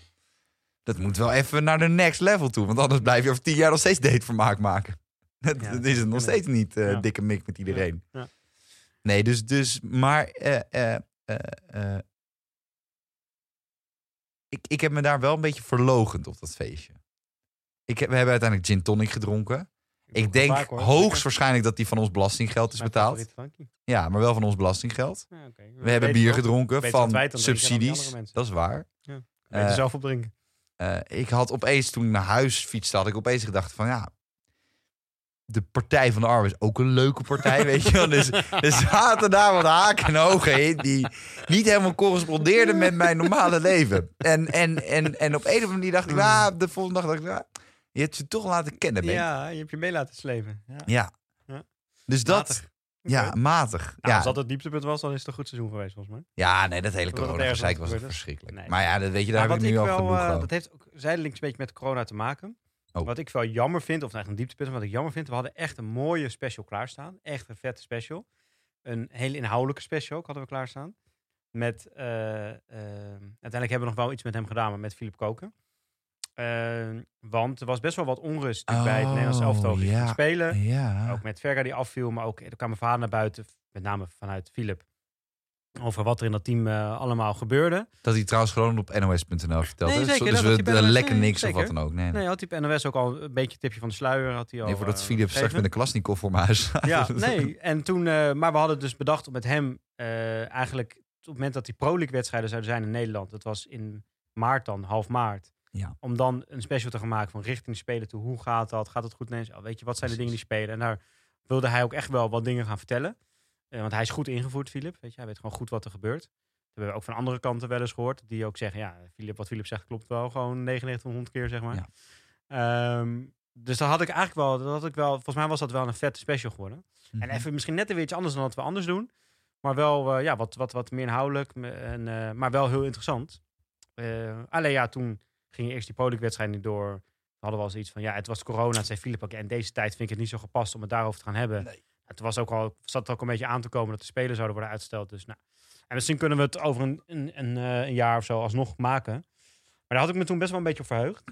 S2: Dat moet wel even naar de next level toe. Want anders blijf je over tien jaar nog steeds datevermaak maken. Dat,
S1: Ja,
S2: dat
S1: dat
S2: is het
S1: kan
S2: nog
S1: ook.
S2: steeds niet eh,
S1: Ja.
S2: dikke mik met iedereen.
S1: Ja.
S2: Nee, dus, dus maar eh, eh, eh, eh, ik, ik heb me daar wel een beetje verlogend op dat feestje. Ik heb, we hebben uiteindelijk gin tonic gedronken. Ik
S1: doe het
S2: denk
S1: vaak, hoor.
S2: hoogstwaarschijnlijk dat die van ons belastinggeld is
S1: Mijn
S2: betaald.
S1: favoriete drankje.
S2: Ja, maar wel van ons belastinggeld.
S1: Ja, oké. oh,
S2: We hebben
S1: weten
S2: bier
S1: toch-
S2: gedronken
S1: Beter
S2: van
S1: dat wij het dan drinken dan die
S2: subsidies.
S1: andere mensen.
S2: Dat is waar.
S1: We weten
S2: eh,
S1: zelf opdrinken.
S2: Eh, ik had opeens, toen ik naar huis fietste, had ik opeens gedacht van ja... De Partij van de Arbeid is ook een leuke partij, weet je wel. Dus er zaten daar wat haken en ogen in die niet helemaal correspondeerden met mijn normale leven. En, en, en, en op een of andere manier dacht ik, ja, de volgende dag dacht ik, ja, je hebt ze toch laten kennen, Ben.
S1: Ja, je hebt je mee laten slepen. Ja.
S2: Ja.
S1: Ja.
S2: Dus dat,
S1: Matig.
S2: ja,
S1: Oké.
S2: matig.
S1: Nou,
S2: ja.
S1: Als dat het dieptepunt was, dan is het een goed seizoen geweest volgens mij.
S2: ja, nee, dat hele
S1: Dat het
S2: corona-gezeik
S1: ergens
S2: was
S1: gebeurd is.
S2: verschrikkelijk.
S1: Nee.
S2: Maar ja, dat weet je, daar
S1: Maar
S2: heb ik nu al genoeg
S1: eh,
S2: aan.
S1: dat heeft ook zijdelings een beetje met corona te maken.
S2: Oh.
S1: Wat ik wel jammer vind, of nou, echt een dieptepunt, maar wat ik jammer vind, we hadden echt een mooie special klaarstaan. Echt een vette special. Een hele inhoudelijke special ook hadden we klaarstaan. Met, eh, eh, uiteindelijk hebben we nog wel iets met hem gedaan, maar met Philip Koken. Eh, want er was best wel wat onrust natuurlijk bij het Nederlands
S2: Oh,
S1: elftal richting
S2: ja.
S1: het spelen.
S2: Ja.
S1: Ook met Verga die afviel, maar ook er kwam een verhaal naar buiten, met name vanuit Philip. Over wat er in dat team eh, allemaal gebeurde.
S2: Dat hij trouwens gewoon op nos.nl verteld
S1: Nee,
S2: heeft.
S1: zeker,
S2: dus
S1: dat had
S2: we
S1: hij bij
S2: eh,
S1: NOS,
S2: lekker
S1: nee,
S2: niks of
S1: zeker.
S2: wat dan ook. Nee, nee.
S1: Nee, had die op NOS ook al een beetje tipje van de sluier. Had hij al,
S2: nee voordat
S1: eh,
S2: Philip straks met
S1: gegeven.
S2: een klasnikov voor me huis Dus- staat.
S1: Ja, nee. En toen, eh, maar we hadden dus bedacht om met hem eh, eigenlijk... op het moment dat die Pro League wedstrijden zouden zijn in Nederland... dat was in maart dan, half maart...
S2: Ja.
S1: om dan een special te gaan maken van richting de speler toe. Hoe gaat dat? Gaat het goed? Nee, zo, weet je, wat zijn de dingen die spelen? En daar wilde hij ook echt wel wat dingen gaan vertellen. Eh, want hij is goed ingevoerd, Philip. Weet je, hij weet gewoon goed wat er gebeurt. Dat hebben we ook van andere kanten wel eens gehoord. Die ook zeggen, ja, Philip, wat Philip zegt klopt wel gewoon 9900 keer, zeg maar.
S2: Ja.
S1: Ehm, dus dat had ik eigenlijk wel, dat had ik wel, volgens mij was dat wel een vette special geworden.
S2: Mhm.
S1: En even misschien net weer iets anders dan wat we anders doen. Maar wel eh, ja, wat, wat, wat meer inhoudelijk, me- en, eh, maar wel heel interessant. Eh, alleen ja, toen ging eerst die productwedstrijd niet door. We hadden wel eens iets van, ja, het was corona. Toen zei Philip ook, en deze tijd vind ik het niet zo gepast om het daarover te gaan hebben.
S2: Nee.
S1: Het was ook al, zat ook een beetje aan te komen dat de spelen zouden worden uitgesteld. Dus nou, en misschien kunnen we het over een, een, een, eh, een jaar of zo alsnog maken. Maar daar had ik me toen best wel een beetje op verheugd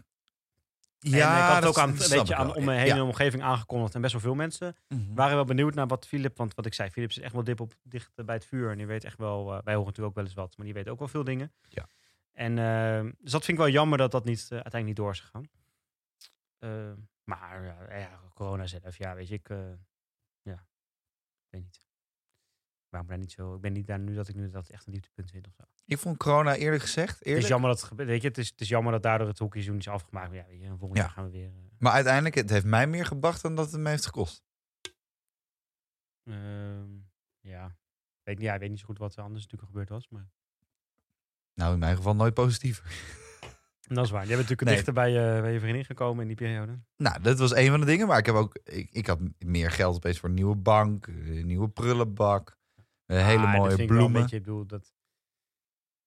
S1: en ik had het
S2: dat
S1: ook aan,
S2: snap
S1: een
S2: ik
S1: beetje
S2: wel.
S1: aan om me heen
S2: Ja.
S1: en omgeving aangekondigd. En best wel veel mensen
S2: Mhm.
S1: waren wel benieuwd naar wat Philip... Want wat ik zei, Philip zit echt wel dip op, dicht bij het vuur. En die weet echt wel... eh, wij horen natuurlijk ook wel eens wat, maar die weet ook wel veel dingen.
S2: Ja.
S1: En, eh, dus dat vind ik wel jammer dat dat niet, eh, uiteindelijk niet door is gegaan. Eh, maar eh, ja, corona zelf, ja, weet je, ik... eh, ja, ik weet niet. Waarom daar niet zo... Ik ben niet daar nu dat ik nu dat echt een dieptepunt vind of zo.
S2: Ik vond corona eerlijk gezegd,
S1: Het is,
S2: eerlijk.
S1: jammer dat, het gebe- weet je, het, is, het is jammer dat daardoor het hockeyzoen is afgemaakt. Maar ja, weet je, volgend
S2: Ja.
S1: jaar gaan we weer... eh,
S2: Maar uiteindelijk, het heeft mij meer gebracht dan dat het me heeft gekost.
S1: Ehm, ja. Weet, niet- ja, ik weet niet zo goed wat er anders natuurlijk gebeurd was. Maar...
S2: Nou, in mijn geval nooit positiever.
S1: Dat is waar. Je bent natuurlijk
S2: Nee.
S1: dichter bij je, bij je vriendin gekomen in die periode.
S2: Nou, dat was een van de dingen. Maar ik, heb ook, ik, ik had meer geld opeens voor een nieuwe bank, een nieuwe prullenbak, een hele
S1: Maar Ah, dat
S2: mooie
S1: vind ik wel Een
S2: bloemen.
S1: beetje, ik bedoel, dat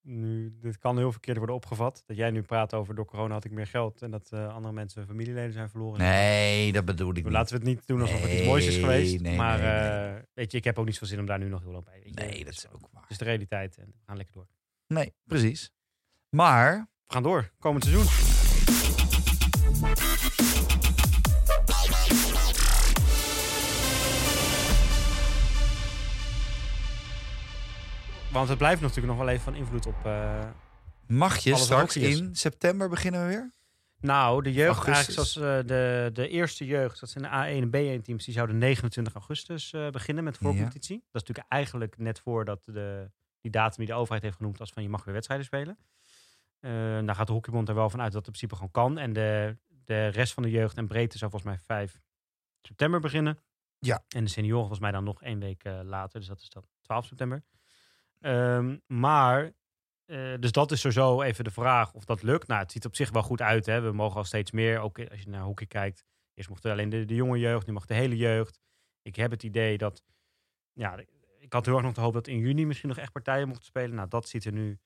S1: nu, dit kan heel verkeerd worden opgevat. Dat jij nu praat over door corona had ik meer geld. En dat eh, andere mensen familieleden zijn verloren.
S2: Nee, dat bedoel ik niet.
S1: Laten we het niet doen alsof het iets
S2: Nee,
S1: moois is geweest.
S2: nee,
S1: maar
S2: nee,
S1: eh, weet je, ik heb ook niet zoveel zin om daar nu nog heel lang bij. Weet je.
S2: Nee,
S1: Het
S2: dat is
S1: gewoon-
S2: ook waar.
S1: het is de realiteit en we gaan lekker door.
S2: Nee, precies. Maar
S1: We gaan door, komend seizoen. want het blijft natuurlijk nog wel even van invloed op. eh,
S2: Mag je
S1: Alles wat
S2: straks
S1: hockey is.
S2: in september beginnen we weer?
S1: nou, de jeugd,
S2: Augustus.
S1: eigenlijk zoals eh, de, de eerste jeugd, dat zijn de A1 en B1-teams, die zouden 29 augustus eh, beginnen met voorcompetitie. Dat is natuurlijk eigenlijk net voordat de, die datum die de overheid heeft genoemd als van je mag weer wedstrijden spelen. Eh daar gaat de hockeybond er wel van uit dat het in principe gewoon kan. En de, de rest van de jeugd en breedte zou volgens mij 5 september beginnen.
S2: Ja.
S1: En de senioren volgens mij dan nog één week eh, later. Dus dat is dan 12 september. Ehm, maar, eh, dus dat is sowieso even de vraag of dat lukt. Nou, het ziet op zich wel goed uit. Hè? We mogen al steeds meer, ook als je naar hockey kijkt. Eerst mocht alleen de, de jonge jeugd, nu mag de hele jeugd. Ik heb het idee dat, ja, ik had heel erg nog de hoop dat in juni misschien nog echt partijen mochten spelen. Nou, dat ziet er nu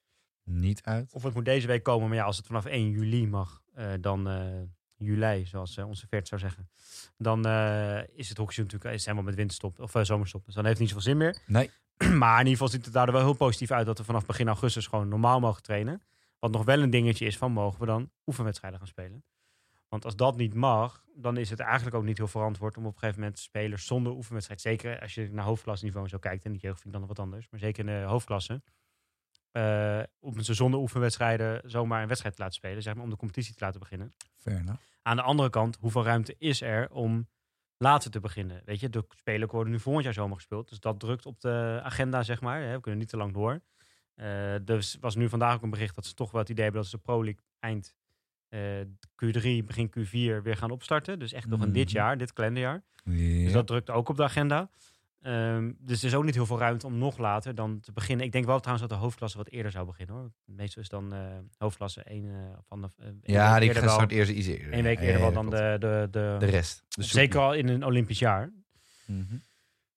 S2: Niet uit.
S1: of het moet deze week komen, maar ja, als het vanaf 1 juli mag, eh, dan eh, juli, zoals eh, onze Vert zou zeggen, dan eh, is het hockeyseizoen natuurlijk eh, is helemaal met winterstop of eh, zomerstop. Dus dan heeft het niet zoveel zin meer.
S2: Nee.
S1: Maar in ieder geval ziet het daar wel heel positief uit dat we vanaf begin augustus gewoon normaal mogen trainen. Wat nog wel een dingetje is van mogen we dan oefenwedstrijden gaan spelen. Want als dat niet mag, dan is het eigenlijk ook niet heel verantwoord om op een gegeven moment spelers zonder oefenwedstrijd. Zeker als je naar hoofdklasniveau en zo kijkt. En de jeugd vind ik dan nog wat anders. Maar zeker in de hoofdklasse eh om ze zonder oefenwedstrijden zomaar een wedstrijd te laten spelen, zeg maar, om de competitie te laten beginnen.
S2: Fair enough.
S1: Aan de andere kant, hoeveel ruimte is er om later te beginnen? Weet je, de spelen worden nu volgend jaar zomer gespeeld, dus dat drukt op de agenda, zeg maar. hè, We kunnen niet te lang door. Eh dus was nu vandaag ook een bericht dat ze toch wel het idee hebben dat ze de Pro League eind eh, Q3, begin Q4 weer gaan opstarten. Dus echt nog in dit
S2: Mhm.
S1: jaar, dit kalenderjaar.
S2: Ja.
S1: Dus dat drukt ook op de agenda. Ehm, dus er is ook niet heel veel ruimte om nog later dan te beginnen. Ik denk wel trouwens dat de hoofdklasse wat eerder zou beginnen hoor. Meestal is dan eh, hoofdklasse één eh, van de. eh, één
S2: ja,
S1: week
S2: die
S1: eerder
S2: gaat
S1: wel-
S2: start eerst iets eerder.
S1: één week
S2: Ja,
S1: eerder
S2: ja,
S1: wel
S2: dat
S1: dan
S2: klopt.
S1: de. de, de,
S2: de rest. De
S1: zeker
S2: zoektocht.
S1: al in een Olympisch jaar.
S2: Mhm.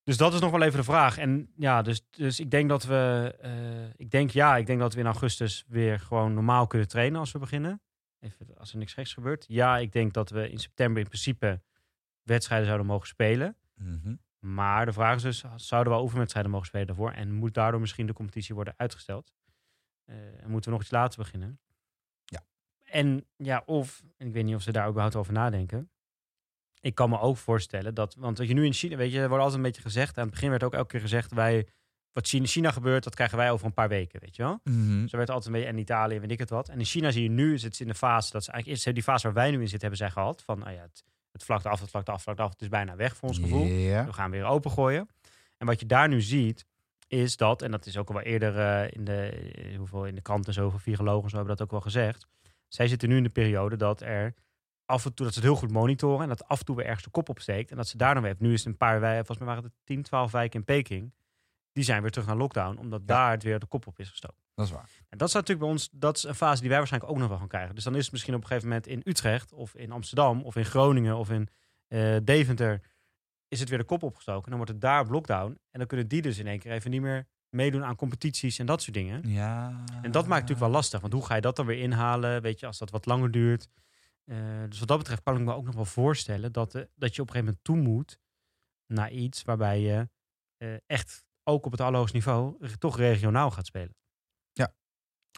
S1: Dus dat is nog wel even de vraag. En ja, dus, dus ik denk dat we. eh, ik denk ja, ik denk dat we in augustus weer gewoon normaal kunnen trainen als we beginnen. Even als er niks geks gebeurt. Ja, ik denk dat we in september in principe wedstrijden zouden mogen spelen.
S2: Mhm.
S1: Maar de vraag is dus, zouden we oefenwedstrijden mogen spelen daarvoor? En moet daardoor misschien de competitie worden uitgesteld? Eh, en moeten we nog iets later beginnen?
S2: Ja.
S1: En ja, of, en ik weet niet of ze daar überhaupt over nadenken. Ik kan me ook voorstellen dat, want wat je nu in China, weet je, er wordt altijd een beetje gezegd. Aan het begin werd ook elke keer gezegd, wij, wat China, China gebeurt, dat krijgen wij over een paar weken, weet je wel?
S2: Mhm.
S1: Zo werd altijd een beetje, en Italië, weet ik het wat. En in China zie je nu, zit ze in de fase, dat ze eigenlijk eerst die fase waar wij nu in zitten, hebben zij gehad. Van, nou ja, het, het vlakt af, het vlakt af, het vlakt af. Het is bijna weg voor ons gevoel.
S2: Ja.
S1: We gaan weer opengooien. En wat je daar nu ziet, is dat, en dat is ook al wel eerder eh, in, de, eh, hoeveel, in de krant en zo, van virologen en zo hebben dat ook wel gezegd. Zij zitten nu in de periode dat er af en toe, dat ze het heel goed monitoren en dat af en toe weer ergens de kop opsteekt. En dat ze daar dan weer, nu is het een paar wijken, volgens mij waren het 10, 12 wijken in Peking, die zijn weer terug naar lockdown, omdat
S2: Ja.
S1: daar het weer de kop op is gestoken.
S2: Dat is waar.
S1: En dat is natuurlijk bij ons, dat is een fase die wij waarschijnlijk ook nog wel gaan krijgen. Dus dan is het misschien op een gegeven moment in Utrecht of in Amsterdam of in Groningen of in eh, Deventer is het weer de kop opgestoken. Dan wordt het daar op lockdown en dan kunnen die dus in één keer even niet meer meedoen aan competities en dat soort dingen.
S2: Ja.
S1: En dat maakt natuurlijk wel lastig, want hoe ga je dat dan weer inhalen? Weet je, als dat wat langer duurt. Eh, dus wat dat betreft kan ik me ook nog wel voorstellen dat, eh, dat je op een gegeven moment toe moet naar iets waarbij je eh, echt ook op het allerhoogste niveau re- toch regionaal gaat spelen.
S2: Ja.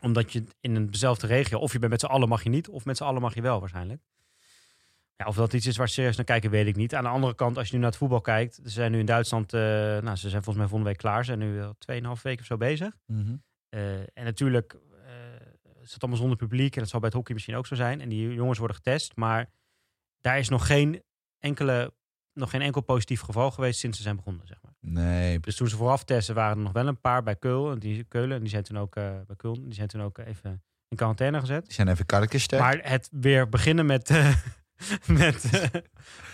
S1: Omdat je in een dezelfde regio, of je bent met z'n allen mag je niet, of met z'n allen mag je wel waarschijnlijk. Ja, of dat iets is waar ze serieus naar kijken, weet ik niet. Aan de andere kant, als je nu naar het voetbal kijkt, ze zijn nu in Duitsland, eh, nou, ze zijn volgens mij volgende week klaar, ze zijn nu al 2,5 weken of zo bezig.
S2: Mhm.
S1: Eh, en natuurlijk eh, is het allemaal zonder publiek. En dat zal bij het hockey misschien ook zo zijn. En die jongens worden getest. Maar daar is nog geen, enkele, nog geen enkel positief geval geweest sinds ze zijn begonnen. Zeg maar.
S2: Nee.
S1: Dus toen ze vooraf testen waren er nog wel een paar bij Keulen. En die, Keulen, en die zijn toen ook, eh, bij Keulen, die zijn toen ook even in quarantaine gezet.
S2: Die zijn even karretjes sterk.
S1: Maar het weer beginnen met, eh, met eh,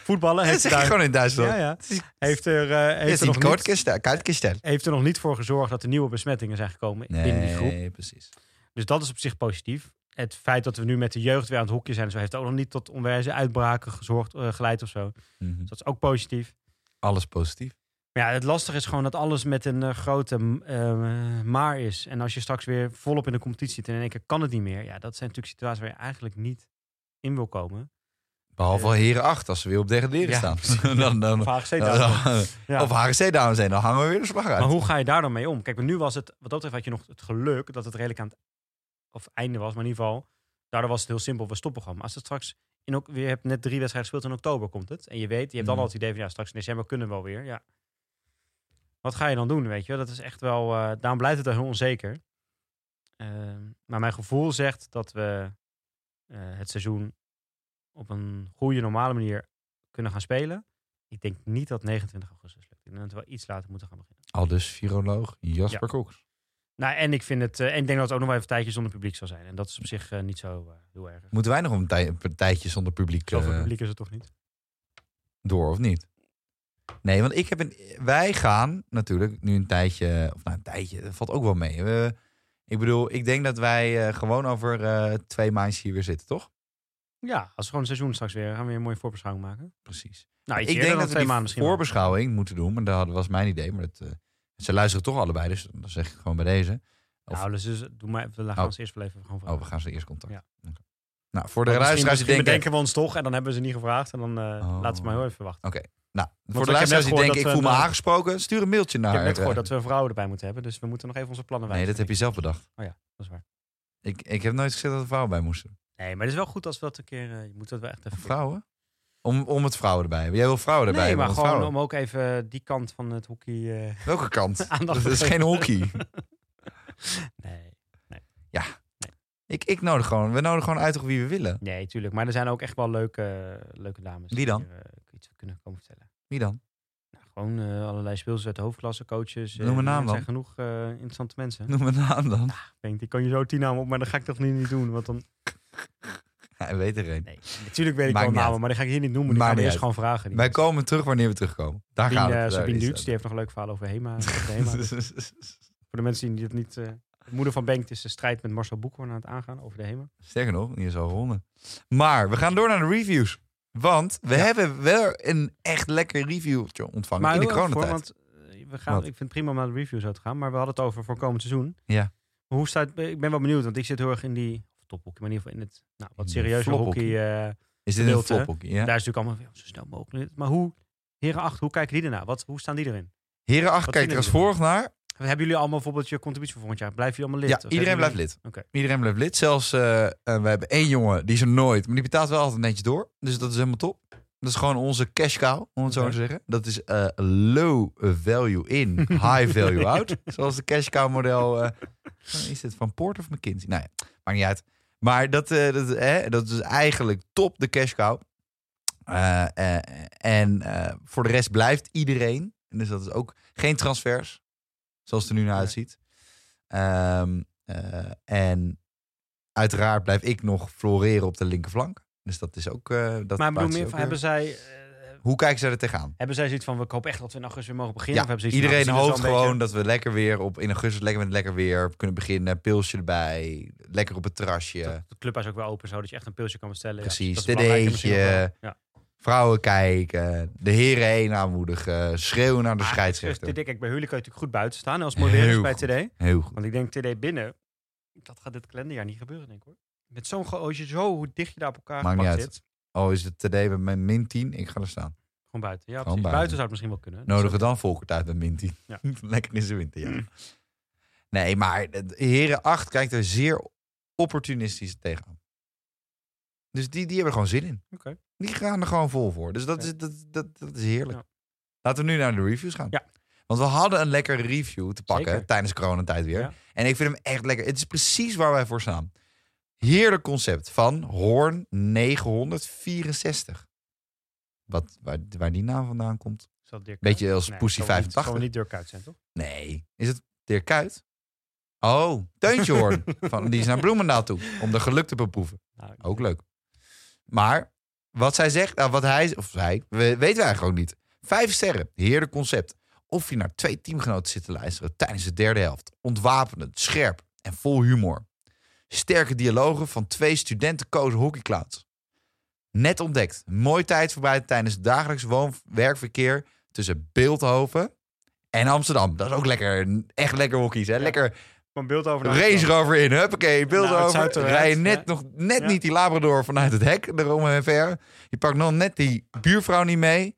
S1: voetballen
S2: dat
S1: heeft
S2: zeg
S1: er,
S2: je
S1: daar,
S2: gewoon in Duitsland.
S1: ja, ja,
S2: Het is-
S1: heeft er, eh,
S2: het
S1: heeft
S2: is
S1: er nog
S2: niet
S1: niet,
S2: karretjes sterk. Karretjes sterk.
S1: heeft er nog niet voor gezorgd dat er nieuwe besmettingen zijn gekomen binnen die groep.
S2: Nee, precies.
S1: Dus dat is op zich positief. Het feit dat we nu met de jeugd weer aan het hokje zijn, en zo heeft ook nog niet tot onwijze uitbraken gezorgd, eh, geleid of zo. Dus
S2: Mhm.
S1: dat is ook positief.
S2: Alles positief.
S1: Maar ja, het lastige is gewoon dat alles met een eh, grote m- eh, maar is. En als je straks weer volop in de competitie zit en in één keer kan het niet meer. Ja, dat zijn natuurlijk situaties waar je eigenlijk niet in wil komen.
S2: Behalve
S1: Eh.
S2: heren 8, als ze weer op degraderen
S1: Ja,
S2: staan. dan, dan,
S1: Of HGC
S2: dan-
S1: daarom. Ja.
S2: Of HGC dames zijn, dan hangen we weer de slag uit.
S1: Maar hoe ga je daar dan mee om? Kijk, maar nu was het, wat dat betreft had je nog het geluk dat het redelijk aan het of einde was. Maar in ieder geval, daardoor was het heel simpel, we stoppen gewoon. Maar als het straks, in ook, je hebt net drie wedstrijden gespeeld, in oktober komt het. En je weet, je hebt dan
S2: Mhm.
S1: al het idee van, ja, straks in december kunnen we wel weer. Ja. Wat ga je dan doen, weet je? wel? Dat is echt wel... eh, daarom blijft het wel heel onzeker. Ehm, maar mijn gevoel zegt dat we eh, het seizoen op een goede, normale manier kunnen gaan spelen. Ik denk niet dat 29 augustus lukt. Ik denk dat we wel iets later moeten gaan beginnen.
S2: Al dus viroloog Jasper Koks.
S1: Nou, en ik, vind het, eh, en ik denk dat het ook nog wel even een tijdje zonder publiek zal zijn. En dat is op zich eh, niet zo eh, heel erg.
S2: Moeten wij nog een, tij- een tijdje zonder publiek,
S1: Zoveel
S2: eh,
S1: publiek is het toch niet?
S2: door of niet? Nee, want ik heb een, wij gaan natuurlijk nu een tijdje, of nou een tijdje, dat valt ook wel mee. We, ik bedoel, ik denk dat wij eh, gewoon over eh, twee maandjes hier weer zitten, toch?
S1: Ja, als we gewoon een seizoen straks weer gaan we weer een mooie voorbeschouwing maken.
S2: Precies.
S1: Nou, iets
S2: ik denk dat we
S1: twee
S2: die
S1: maanden misschien. wel.
S2: voorbeschouwing moeten doen. Maar dat hadden- was mijn idee. Maar dat, eh, ze luisteren toch allebei. Dus dan zeg ik gewoon bij deze. of-
S1: Nou, dus, dus doe maar even, we gaan
S2: Oh.
S1: ons eerst wel even gewoon vragen.
S2: Oh, we gaan ze eerst contact.
S1: Ja.
S2: Oké. Nou, voor de
S1: Want misschien-
S2: luisteraars die
S1: misschien
S2: denken...
S1: bedenken we ons toch en dan hebben we ze niet gevraagd. En dan eh,
S2: Oh.
S1: laten we maar heel even wachten.
S2: Nou, voor
S1: ik
S2: de
S1: heb net
S2: luisteraars die
S1: gehoord
S2: denken, ik
S1: dat
S2: voel
S1: we
S2: me
S1: een- eh,
S2: aangesproken. Stuur een mailtje naar...
S1: ik heb net gehoord
S2: eh,
S1: dat we vrouwen erbij moeten hebben. Dus we moeten nog even onze plannen
S2: Nee,
S1: wijzigen.
S2: dat heb je zelf bedacht.
S1: Oh Dat is waar.
S2: Ik, ik heb nooit gezegd dat er vrouwen bij moesten.
S1: Nee, maar het is wel goed als we dat een keer... eh, je moet dat wel echt even...
S2: Vrouwen? Om, om het vrouwen erbij. hebben. Jij wil vrouwen erbij.
S1: nee,
S2: hebben,
S1: maar
S2: want
S1: gewoon
S2: vrouwen-
S1: om ook even die kant van het hockey... eh,
S2: Welke kant?
S1: aandacht
S2: dat is
S1: te
S2: geen
S1: geven.
S2: hockey.
S1: nee,
S2: Ik, ik nodig gewoon... We nodigen gewoon uit toch wie we willen.
S1: nee, tuurlijk. Maar er zijn ook echt wel leuke, eh, leuke dames.
S2: Wie dan?
S1: Die hier, eh, iets kunnen komen vertellen.
S2: Wie dan?
S1: Nou, gewoon eh, allerlei speelsters uit de hoofdklasse, coaches. eh,
S2: Noem een naam
S1: Er zijn
S2: dan.
S1: genoeg eh, interessante mensen.
S2: Noem een naam dan.
S1: Ik denk, die kan je zo tien namen op, maar dat ga ik toch nu niet doen. Want dan...
S2: Hij weet er een.
S1: Nee, natuurlijk weet ik
S2: Maakt
S1: wel
S2: niet
S1: namen,
S2: uit.
S1: maar die ga ik hier niet noemen. Die
S2: Maakt
S1: gaan we
S2: niet
S1: eerst gewoon vragen. die
S2: Wij
S1: mensen.
S2: komen terug wanneer we terugkomen. Daar gaan we
S1: Sabine,
S2: het. daar
S1: eh, Sabine
S2: is eh,
S1: Duits,
S2: het.
S1: die heeft nog een leuk verhaal over Hema. over Hema. Voor de mensen die het niet... eh, de moeder van Bengt is de strijd met Marcel Boekhoorn aan het aangaan over de Hema.
S2: Sterker nog, die is al gewonnen. Maar we gaan door naar de reviews. Want we hebben wel een echt lekker reviewtje ontvangen in de
S1: heel erg voor,
S2: coronatijd.
S1: want eh, we gaan, ik
S2: Wat?
S1: vind het prima om naar de review zo te gaan, maar we hadden het over voor komend seizoen.
S2: Ja.
S1: Maar Hoe staat, ik ben wel benieuwd, want ik zit heel erg in die of tophockey, maar in ieder geval in het nou, wat
S2: In
S1: serieuze hockey.
S2: flophockey.
S1: eh,
S2: Is dit een
S1: gedeelte, hè?
S2: flophokje? Ja.
S1: Daar is natuurlijk allemaal van, zo snel mogelijk. Maar hoe, heren 8, hoe kijken die ernaar? Wat, hoe staan die erin?
S2: Heren 8
S1: Wat
S2: kijkt er
S1: vinden
S2: als
S1: jullie
S2: volgt naar.
S1: Hebben jullie allemaal bijvoorbeeld je contributie voor volgend jaar? Blijven jullie allemaal
S2: Ja,
S1: lid? Of
S2: iedereen
S1: hebben
S2: blijft
S1: jullie-
S2: lid.
S1: Oké.
S2: Iedereen blijft lid. Zelfs eh, eh, we hebben één jongen, die is er nooit. Maar die betaalt wel altijd netjes door. Dus dat is helemaal top. Dat is gewoon onze cash cow, om het zo
S1: Oké.
S2: maar te zeggen. Dat is eh, low value in, high value out. Zoals de cash cow model. eh, Van- Is dit van Poort of McKinsey? Nou ja, maakt niet uit. Maar dat, eh, dat, hè, dat is eigenlijk top de cash cow. Eh, eh, en eh, voor de rest blijft iedereen. En dus dat is ook geen transfers. Zoals het er nu naar
S1: Nee.
S2: uitziet. Ehm, eh, en uiteraard blijf ik nog floreren op de linkerflank. Dus dat is ook... eh, dat
S1: Maar ik bedoel
S2: plaatst
S1: meer
S2: ook
S1: van,
S2: weer.
S1: hebben zij, eh,
S2: Hoe kijken ze er tegenaan?
S1: hebben zij zoiets van, we hopen echt dat we in augustus weer mogen beginnen? of
S2: Ja,
S1: hebben ze iets van,
S2: iedereen
S1: nou, we zien
S2: hoopt
S1: het wel een
S2: gewoon dat we lekker weer op, in augustus lekker met lekker weer kunnen beginnen. Pilsje erbij, lekker op het terrasje.
S1: beetje- dat de clubhuis ook weer open zou, dat je echt een pilsje kan bestellen. Ja,
S2: eh, Precies,
S1: dat is belangrijk en misschien ook wel-
S2: TD'tje.
S1: Ja.
S2: Vrouwen kijken, de heren heen aanmoedigen, schreeuwen naar de
S1: Maar
S2: scheidsrechter.
S1: dus TD, kijk, bij jullie kan je natuurlijk goed buiten staan als modellerist
S2: Heel
S1: bij
S2: goed.
S1: TD.
S2: Heel goed.
S1: Want ik denk TD binnen, dat gaat dit kalenderjaar niet gebeuren, denk ik hoor. Met zo'n, ge- als je zo, hoe dicht je daar op elkaar
S2: Maakt
S1: gepakt
S2: niet uit.
S1: zit,
S2: Oh, is het TD bij mijn min 10? Ik ga er staan.
S1: gewoon buiten. Ja, precies.
S2: Gewoon buiten.
S1: Buiten zou het misschien wel kunnen.
S2: Nodig
S1: Dat
S2: het dan Volkert uit met min 10.
S1: Ja. Mm.
S2: lekker in zijn winter, ja. Nee, maar de heren 8 kijkt er zeer opportunistisch tegenaan. Dus die, die hebben er gewoon zin in.
S1: Oké.
S2: Die gaan er gewoon vol voor. Dus dat,
S1: Ja.
S2: is, dat, dat, dat is heerlijk.
S1: Ja.
S2: Laten we nu naar de reviews gaan.
S1: Ja.
S2: Want we hadden een lekkere review te pakken
S1: Zeker.
S2: tijdens coronatijd weer.
S1: Ja.
S2: En ik vind hem echt lekker. Het is precies waar wij voor staan. Heerlijk concept van Hoorn 964. Wat, waar, waar die naam vandaan komt.
S1: zal Dirk
S2: Beetje als
S1: Nee,
S2: Pussy
S1: zal wel niet-
S2: 85.
S1: zal wel niet Dirk uit zijn, toch?
S2: Nee. Is het Dirk Kuyt? Oh, Teuntje Hoorn. van, die is naar Bloemendaal toe om de geluk te beproeven.
S1: Nou, ik
S2: Ook
S1: denk-
S2: leuk. Maar wat zij zegt, nou, wat hij, of zij, we, weten we eigenlijk ook niet. Vijf sterren, heerlijk concept. Of je naar twee teamgenoten zit te luisteren tijdens de derde helft. Ontwapenend, scherp en vol humor. Sterke dialogen van twee studentenkozen hockeyclowns. Net ontdekt, mooi tijd voorbij tijdens het dagelijks woon-werkverkeer tussen Beeldhoven en Amsterdam. Dat is ook lekker, echt lekker hockey's. Hè?
S1: Ja.
S2: Lekker
S1: Van beeld over naar
S2: Race Rover in, huppakee, beeld
S1: Nou, het zou
S2: over.
S1: toch
S2: Rij je
S1: uit,
S2: net,
S1: ja.
S2: nog, net
S1: Ja.
S2: niet die Labrador vanuit het hek eromheen ver. Je pakt nog net die buurvrouw niet mee.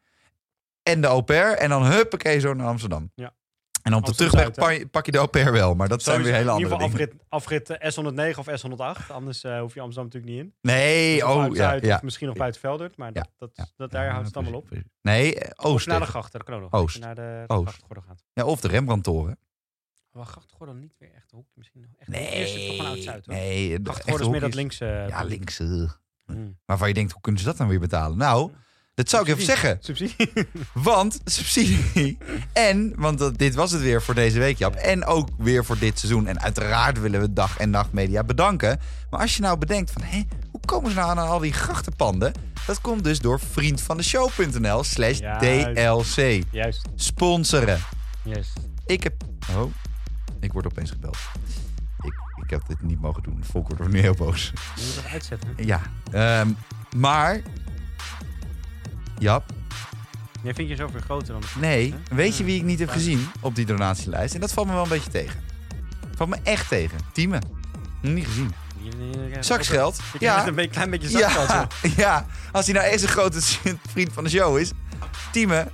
S2: En de au pair. En dan huppakee zo naar Amsterdam.
S1: Ja.
S2: En op de
S1: Absoluut
S2: terugweg
S1: uit, hè?
S2: pa- pak je, de au pair wel. Maar dat zijn weer hele
S1: In
S2: andere
S1: ieder
S2: dingen.
S1: geval afrit, afrit eh, S109 of S108. Anders eh, hoef je Amsterdam natuurlijk niet in. Dus
S2: Nee,
S1: Of
S2: oh
S1: uit-
S2: ja.
S1: uit,
S2: ja.
S1: of misschien nog buiten Veldert. Maar dat, dat,
S2: ja.
S1: dat, daar houdt het allemaal op.
S2: Precies, precies. Nee, eh,
S1: Of
S2: Oost.
S1: naar de
S2: toch?
S1: gracht. Dat kan ook nog.
S2: Oost.
S1: Als je Naar de, de
S2: Oost.
S1: grachtgordel gaat.
S2: Ja, of de Rembrandtoren.
S1: Maar grachtgordel niet weer echt hoek. Misschien nog. Echt,
S2: Nee.
S1: Eerst is het toch gewoon oud-zuid hoor.
S2: Nee, de
S1: Grachtgordel is
S2: echte
S1: meer dat links.
S2: hoekjes.
S1: eh,
S2: Ja, links. eh.
S1: hmm.
S2: Waarvan je denkt, hoe kunnen ze dat dan weer betalen? Nou, dat zou ik even
S1: Subsidie.
S2: zeggen.
S1: Subsidie.
S2: Want subsidie. En, want dat, dit was het weer voor deze week, Jap. En ook weer voor dit seizoen. En uiteraard willen we dag en nacht media bedanken. Maar als je nou bedenkt van, hé, hoe komen ze nou aan al die grachtenpanden? Dat komt dus door vriendvandeshow.nl slash
S1: Juist.
S2: DLC.
S1: Juist.
S2: Sponsoren.
S1: Yes.
S2: Ik heb... Oh, ik word opeens gebeld. Ik, ik heb dit niet mogen doen. Volk wordt nu heel boos.
S1: Je moet dat uitzetten.
S2: Ja, ehm, maar... Jap,
S1: Jij vindt jezelf weer groter dan de
S2: Nee, weet je wie ik niet heb gezien op die donatielijst? En dat valt me wel een beetje tegen. Valt me echt tegen. Tieme. Niet gezien. Zakgeld.
S1: Ik ja.
S2: Ja.
S1: een be- klein beetje zakgeld.
S2: Ja,
S1: hoor.
S2: ja, als hij nou echt een grote vriend van de show is. Tieme,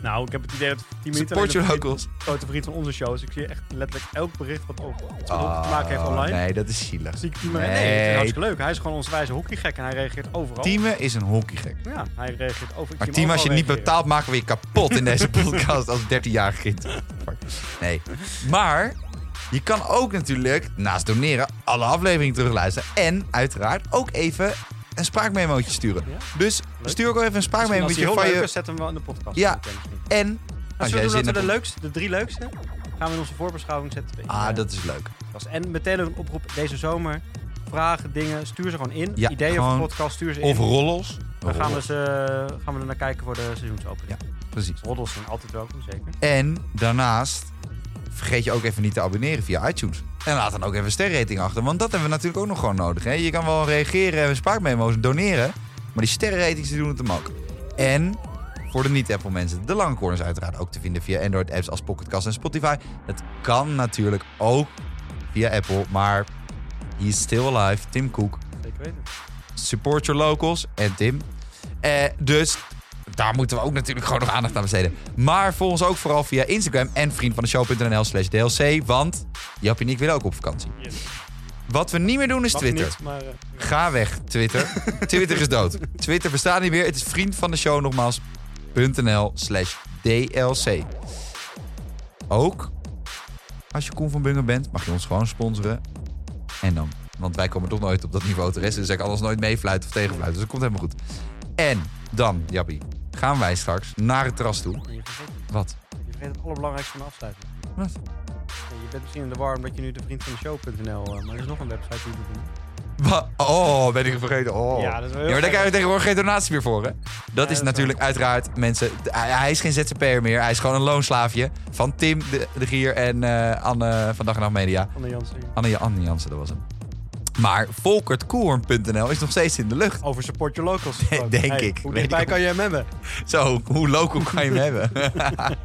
S1: Nou, ik heb het idee dat 10 minuten
S2: support your
S1: alleen nog
S2: locals.
S1: een grote vriend van onze show is. Ik zie echt letterlijk elk bericht wat ook wat te maken heeft online.
S2: Oh, nee, dat is zielig.
S1: Zie ik Tieme. Nee,
S2: Nee.
S1: het is hartstikke leuk. Hij is gewoon ons wijze hockeygek en hij reageert overal.
S2: Tieme is een hockeygek.
S1: Ja, hij reageert over. ik zie
S2: Maar
S1: hem
S2: Tieme, als
S1: overal
S2: je niet
S1: reageren.
S2: betaalt, maken we je kapot in deze podcast als 13-jarig kind. Fuck. Nee. Maar je kan ook natuurlijk, naast doneren, alle afleveringen terugluisteren. En uiteraard ook even een spraakmemootje sturen.
S1: Ja.
S2: Dus
S1: Leuk.
S2: stuur ook even
S1: Misschien als
S2: een
S1: hij
S2: spraakmemootje
S1: heel
S2: van
S1: leuk
S2: je...
S1: is, zet hem wel in de podcast.
S2: Ja.
S1: Oké, misschien.
S2: En
S1: Als
S2: als
S1: we
S2: jij
S1: doen
S2: zin
S1: dat we de,
S2: hebt...
S1: leukste, de drie leukste gaan we in onze voorbeschouwing zetten.
S2: Ah, dat is leuk.
S1: was. En meteen een oproep deze zomer. Vragen, dingen, stuur ze gewoon in.
S2: Ja,
S1: Ideeën
S2: gewoon-
S1: voor podcast, stuur ze in.
S2: Of rollos.
S1: Dan gaan we,
S2: Rollos,
S1: ze, eh, gaan we er naar kijken voor de seizoensopening.
S2: Ja. Precies.
S1: Roddels zijn altijd welkom, zeker.
S2: En daarnaast vergeet je ook even niet te abonneren via iTunes. En laat dan ook even een sterrenrating achter. Want dat hebben we natuurlijk ook nog gewoon nodig. Hè? Je kan wel reageren en spraakmemo's en doneren. Maar die sterrenratings die doen het hem ook. En voor de niet-Apple mensen, de lange corners uiteraard ook te vinden via Android-apps als Pocketcast en Spotify. Dat kan natuurlijk ook via Apple. Maar he is still alive, Tim Cook.
S1: Zeker weten.
S2: Support your locals en Tim. Eh, dus daar moeten we ook natuurlijk gewoon nog aandacht aan besteden. Maar volg ons ook vooral via Instagram en vriendvandeshow.nl slash DLC. Want Jap en ik willen ook op vakantie.
S1: Yes.
S2: Wat we niet meer doen is
S1: Mag
S2: Twitter.
S1: niet, maar... eh,
S2: Ga weg, Twitter. Twitter is dood. Twitter bestaat niet meer. Het is vriend van de show nogmaals. .nl slash DLC. Ook als je Koen van Bungen bent, mag je ons gewoon sponsoren. En dan. Want wij komen toch nooit op dat niveau terecht. Dus ik kan anders nooit meefluiten of tegenfluiten. Dus dat komt helemaal goed. En dan, Jappie, gaan wij straks naar het terras toe.
S1: je, vergeet, het.
S2: Wat?
S1: je vergeet het allerbelangrijkste van de afsluiting.
S2: Wat?
S1: Eh, Je bent misschien in de war omdat je nu de vriend van de show.nl... eh, maar er is nog een website die je moet doen.
S2: Wat? Oh, ben ik het vergeten. Oh.
S1: Ja, dat is wel heel
S2: maar daar
S1: gek.
S2: krijg je tegenwoordig geen donatie meer voor, hè? Dat
S1: dat
S2: is
S1: is
S2: natuurlijk uiteraard, mensen... d- Hij, hij is geen ZZP'er meer. Hij is gewoon een loonslaafje van Tim de, de Gier en eh, Anne van Dag en Nacht Media.
S1: Anne Jansen.
S2: Anne, Anne Jansen, dat was hem. Maar volkertkoorn.nl is nog steeds in de lucht.
S1: Over support your locals. gesproken.
S2: denk ik.
S1: Hoe
S2: Weet
S1: dichtbij
S2: ik
S1: kan je hem hebben?
S2: Zo, hoe loco kan je hem hebben?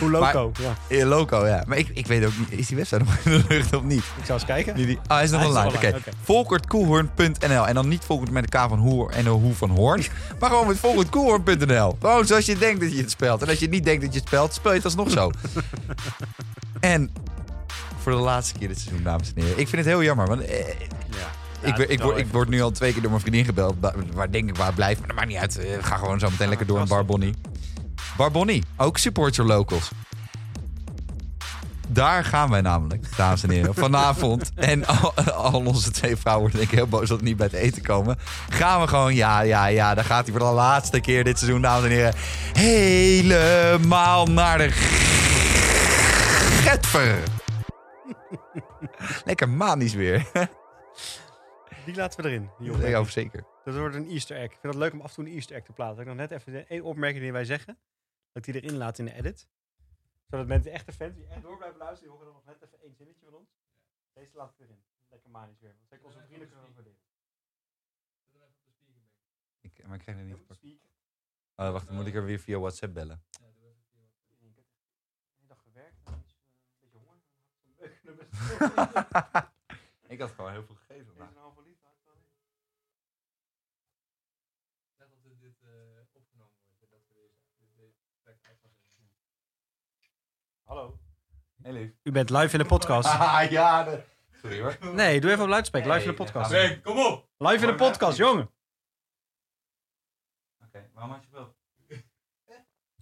S1: Hoe loco? ja.
S2: In loco, ja. Maar ik, ik weet ook niet, is die website nog in de lucht of niet?
S1: Ik zou eens kijken.
S2: Die- die- ah, hij is nog
S1: Hij is
S2: online.
S1: nog
S2: Oké.
S1: online, oké.
S2: Volkertkoehoorn.nl. En dan niet Volkert met de K van Hoer en de Hoe van Hoorn. maar gewoon met Volkertkoehoorn.nl. Gewoon zoals je denkt dat je het spelt. En als je niet denkt dat je het spelt, speel je het alsnog zo. en voor de laatste keer dit seizoen, dames en heren. Ik vind het heel jammer. Want eh,
S1: Ja.
S2: ik,
S1: Ja,
S2: ben- ik,
S1: wel
S2: word, ik
S1: even.
S2: word nu al twee keer door mijn vriendin gebeld. Waar, waar denk ik waar het blijft. Maar dat maakt niet uit. Eh, ga gewoon zo meteen lekker door een Barbonnie. Barbonnie. Ook support your locals. Daar gaan wij namelijk, dames en heren. Vanavond. En al, al onze twee vrouwen worden denk ik heel boos dat we niet bij het eten komen. Gaan we gewoon, ja, ja, ja. Daar gaat hij voor de laatste keer dit seizoen, dames en heren. Helemaal naar de getver. Lekker manisch weer.
S1: Die laten we erin. Die
S2: Ja,
S1: opmerking.
S2: zeker.
S1: Dat wordt een easter egg. Ik vind het leuk om af en toe een easter egg te plaatsen. Dat ik nog net even de- één opmerking die wij zeggen, dat ik die erin laat in de edit. Zodat mensen, de echte fans, die echt door blijven luisteren, die horen dan nog net even één zinnetje van ons. Deze laat ik erin. Lekker manisch weer. Zeker onze vrienden kunnen dat waarderen.
S2: Ik, maar ik krijg het niet gepakt. Oh, wacht, dan moet ik er weer via WhatsApp bellen.
S1: Ik heb gewerkt, maar iets, eh, een beetje honger.
S2: ik had gewoon heel veel gegeven.
S1: Deze een halve liter. Hallo.
S2: Heel lief.
S1: U bent live in de podcast.
S2: Ah, ja. de- Sorry hoor.
S1: Nee, doe even op luidspreek. Live in de
S2: Nee,
S1: podcast.
S2: dat gaat
S3: Henk, kom op!
S1: Live in de podcast, jongen.
S2: Oké, waarom had je wel?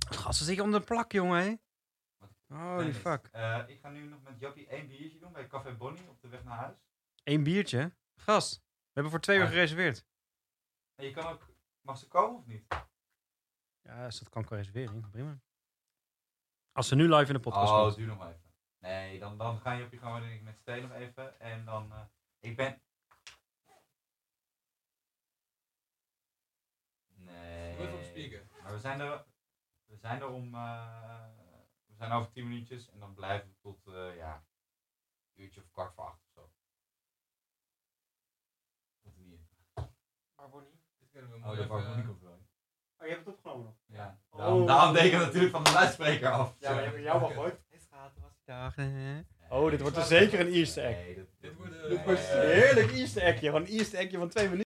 S1: Gast, ze zit je onder de plak, jongen, hè? Holy fuck.
S2: Eh, ik ga nu nog met Jappie één biertje doen bij Café Bonnie op de weg naar huis.
S1: Eén biertje. Gast, we hebben voor twee uur
S2: Ah.
S1: gereserveerd.
S2: En je kan ook... Mag ze komen of niet?
S1: Ja, als dat kan qua reservering, prima. Als ze nu live in de podcast
S2: oh,
S1: komt.
S2: duur nog maar even. Nee, dan, dan ga je op je gewoon denk ik, met Steen nog even. En dan... eh, ik ben... Nee.
S3: Doe Even op speaker.
S2: Maar we zijn er, we zijn er om. eh, we zijn over 10 minuutjes en dan blijven we tot. eh, ja. Een uurtje of kwart voor acht of zo. Komt er niet in.
S3: Dit kunnen we
S2: Oh, de
S3: even-
S2: harmonie komt wel in.
S1: Oh, je hebt het opgenomen.
S2: Ja. Daarom,
S1: Oh.
S2: daarom denk ik natuurlijk van de luidspreker af.
S1: gehoord. Oh, dit wordt er zeker een Easter egg.
S2: Nee, dat,
S3: Dit wordt, eh,
S2: nee.
S3: Dit wordt
S1: Heerlijk Easter eggje. Gewoon een Easter eggje van twee minuten.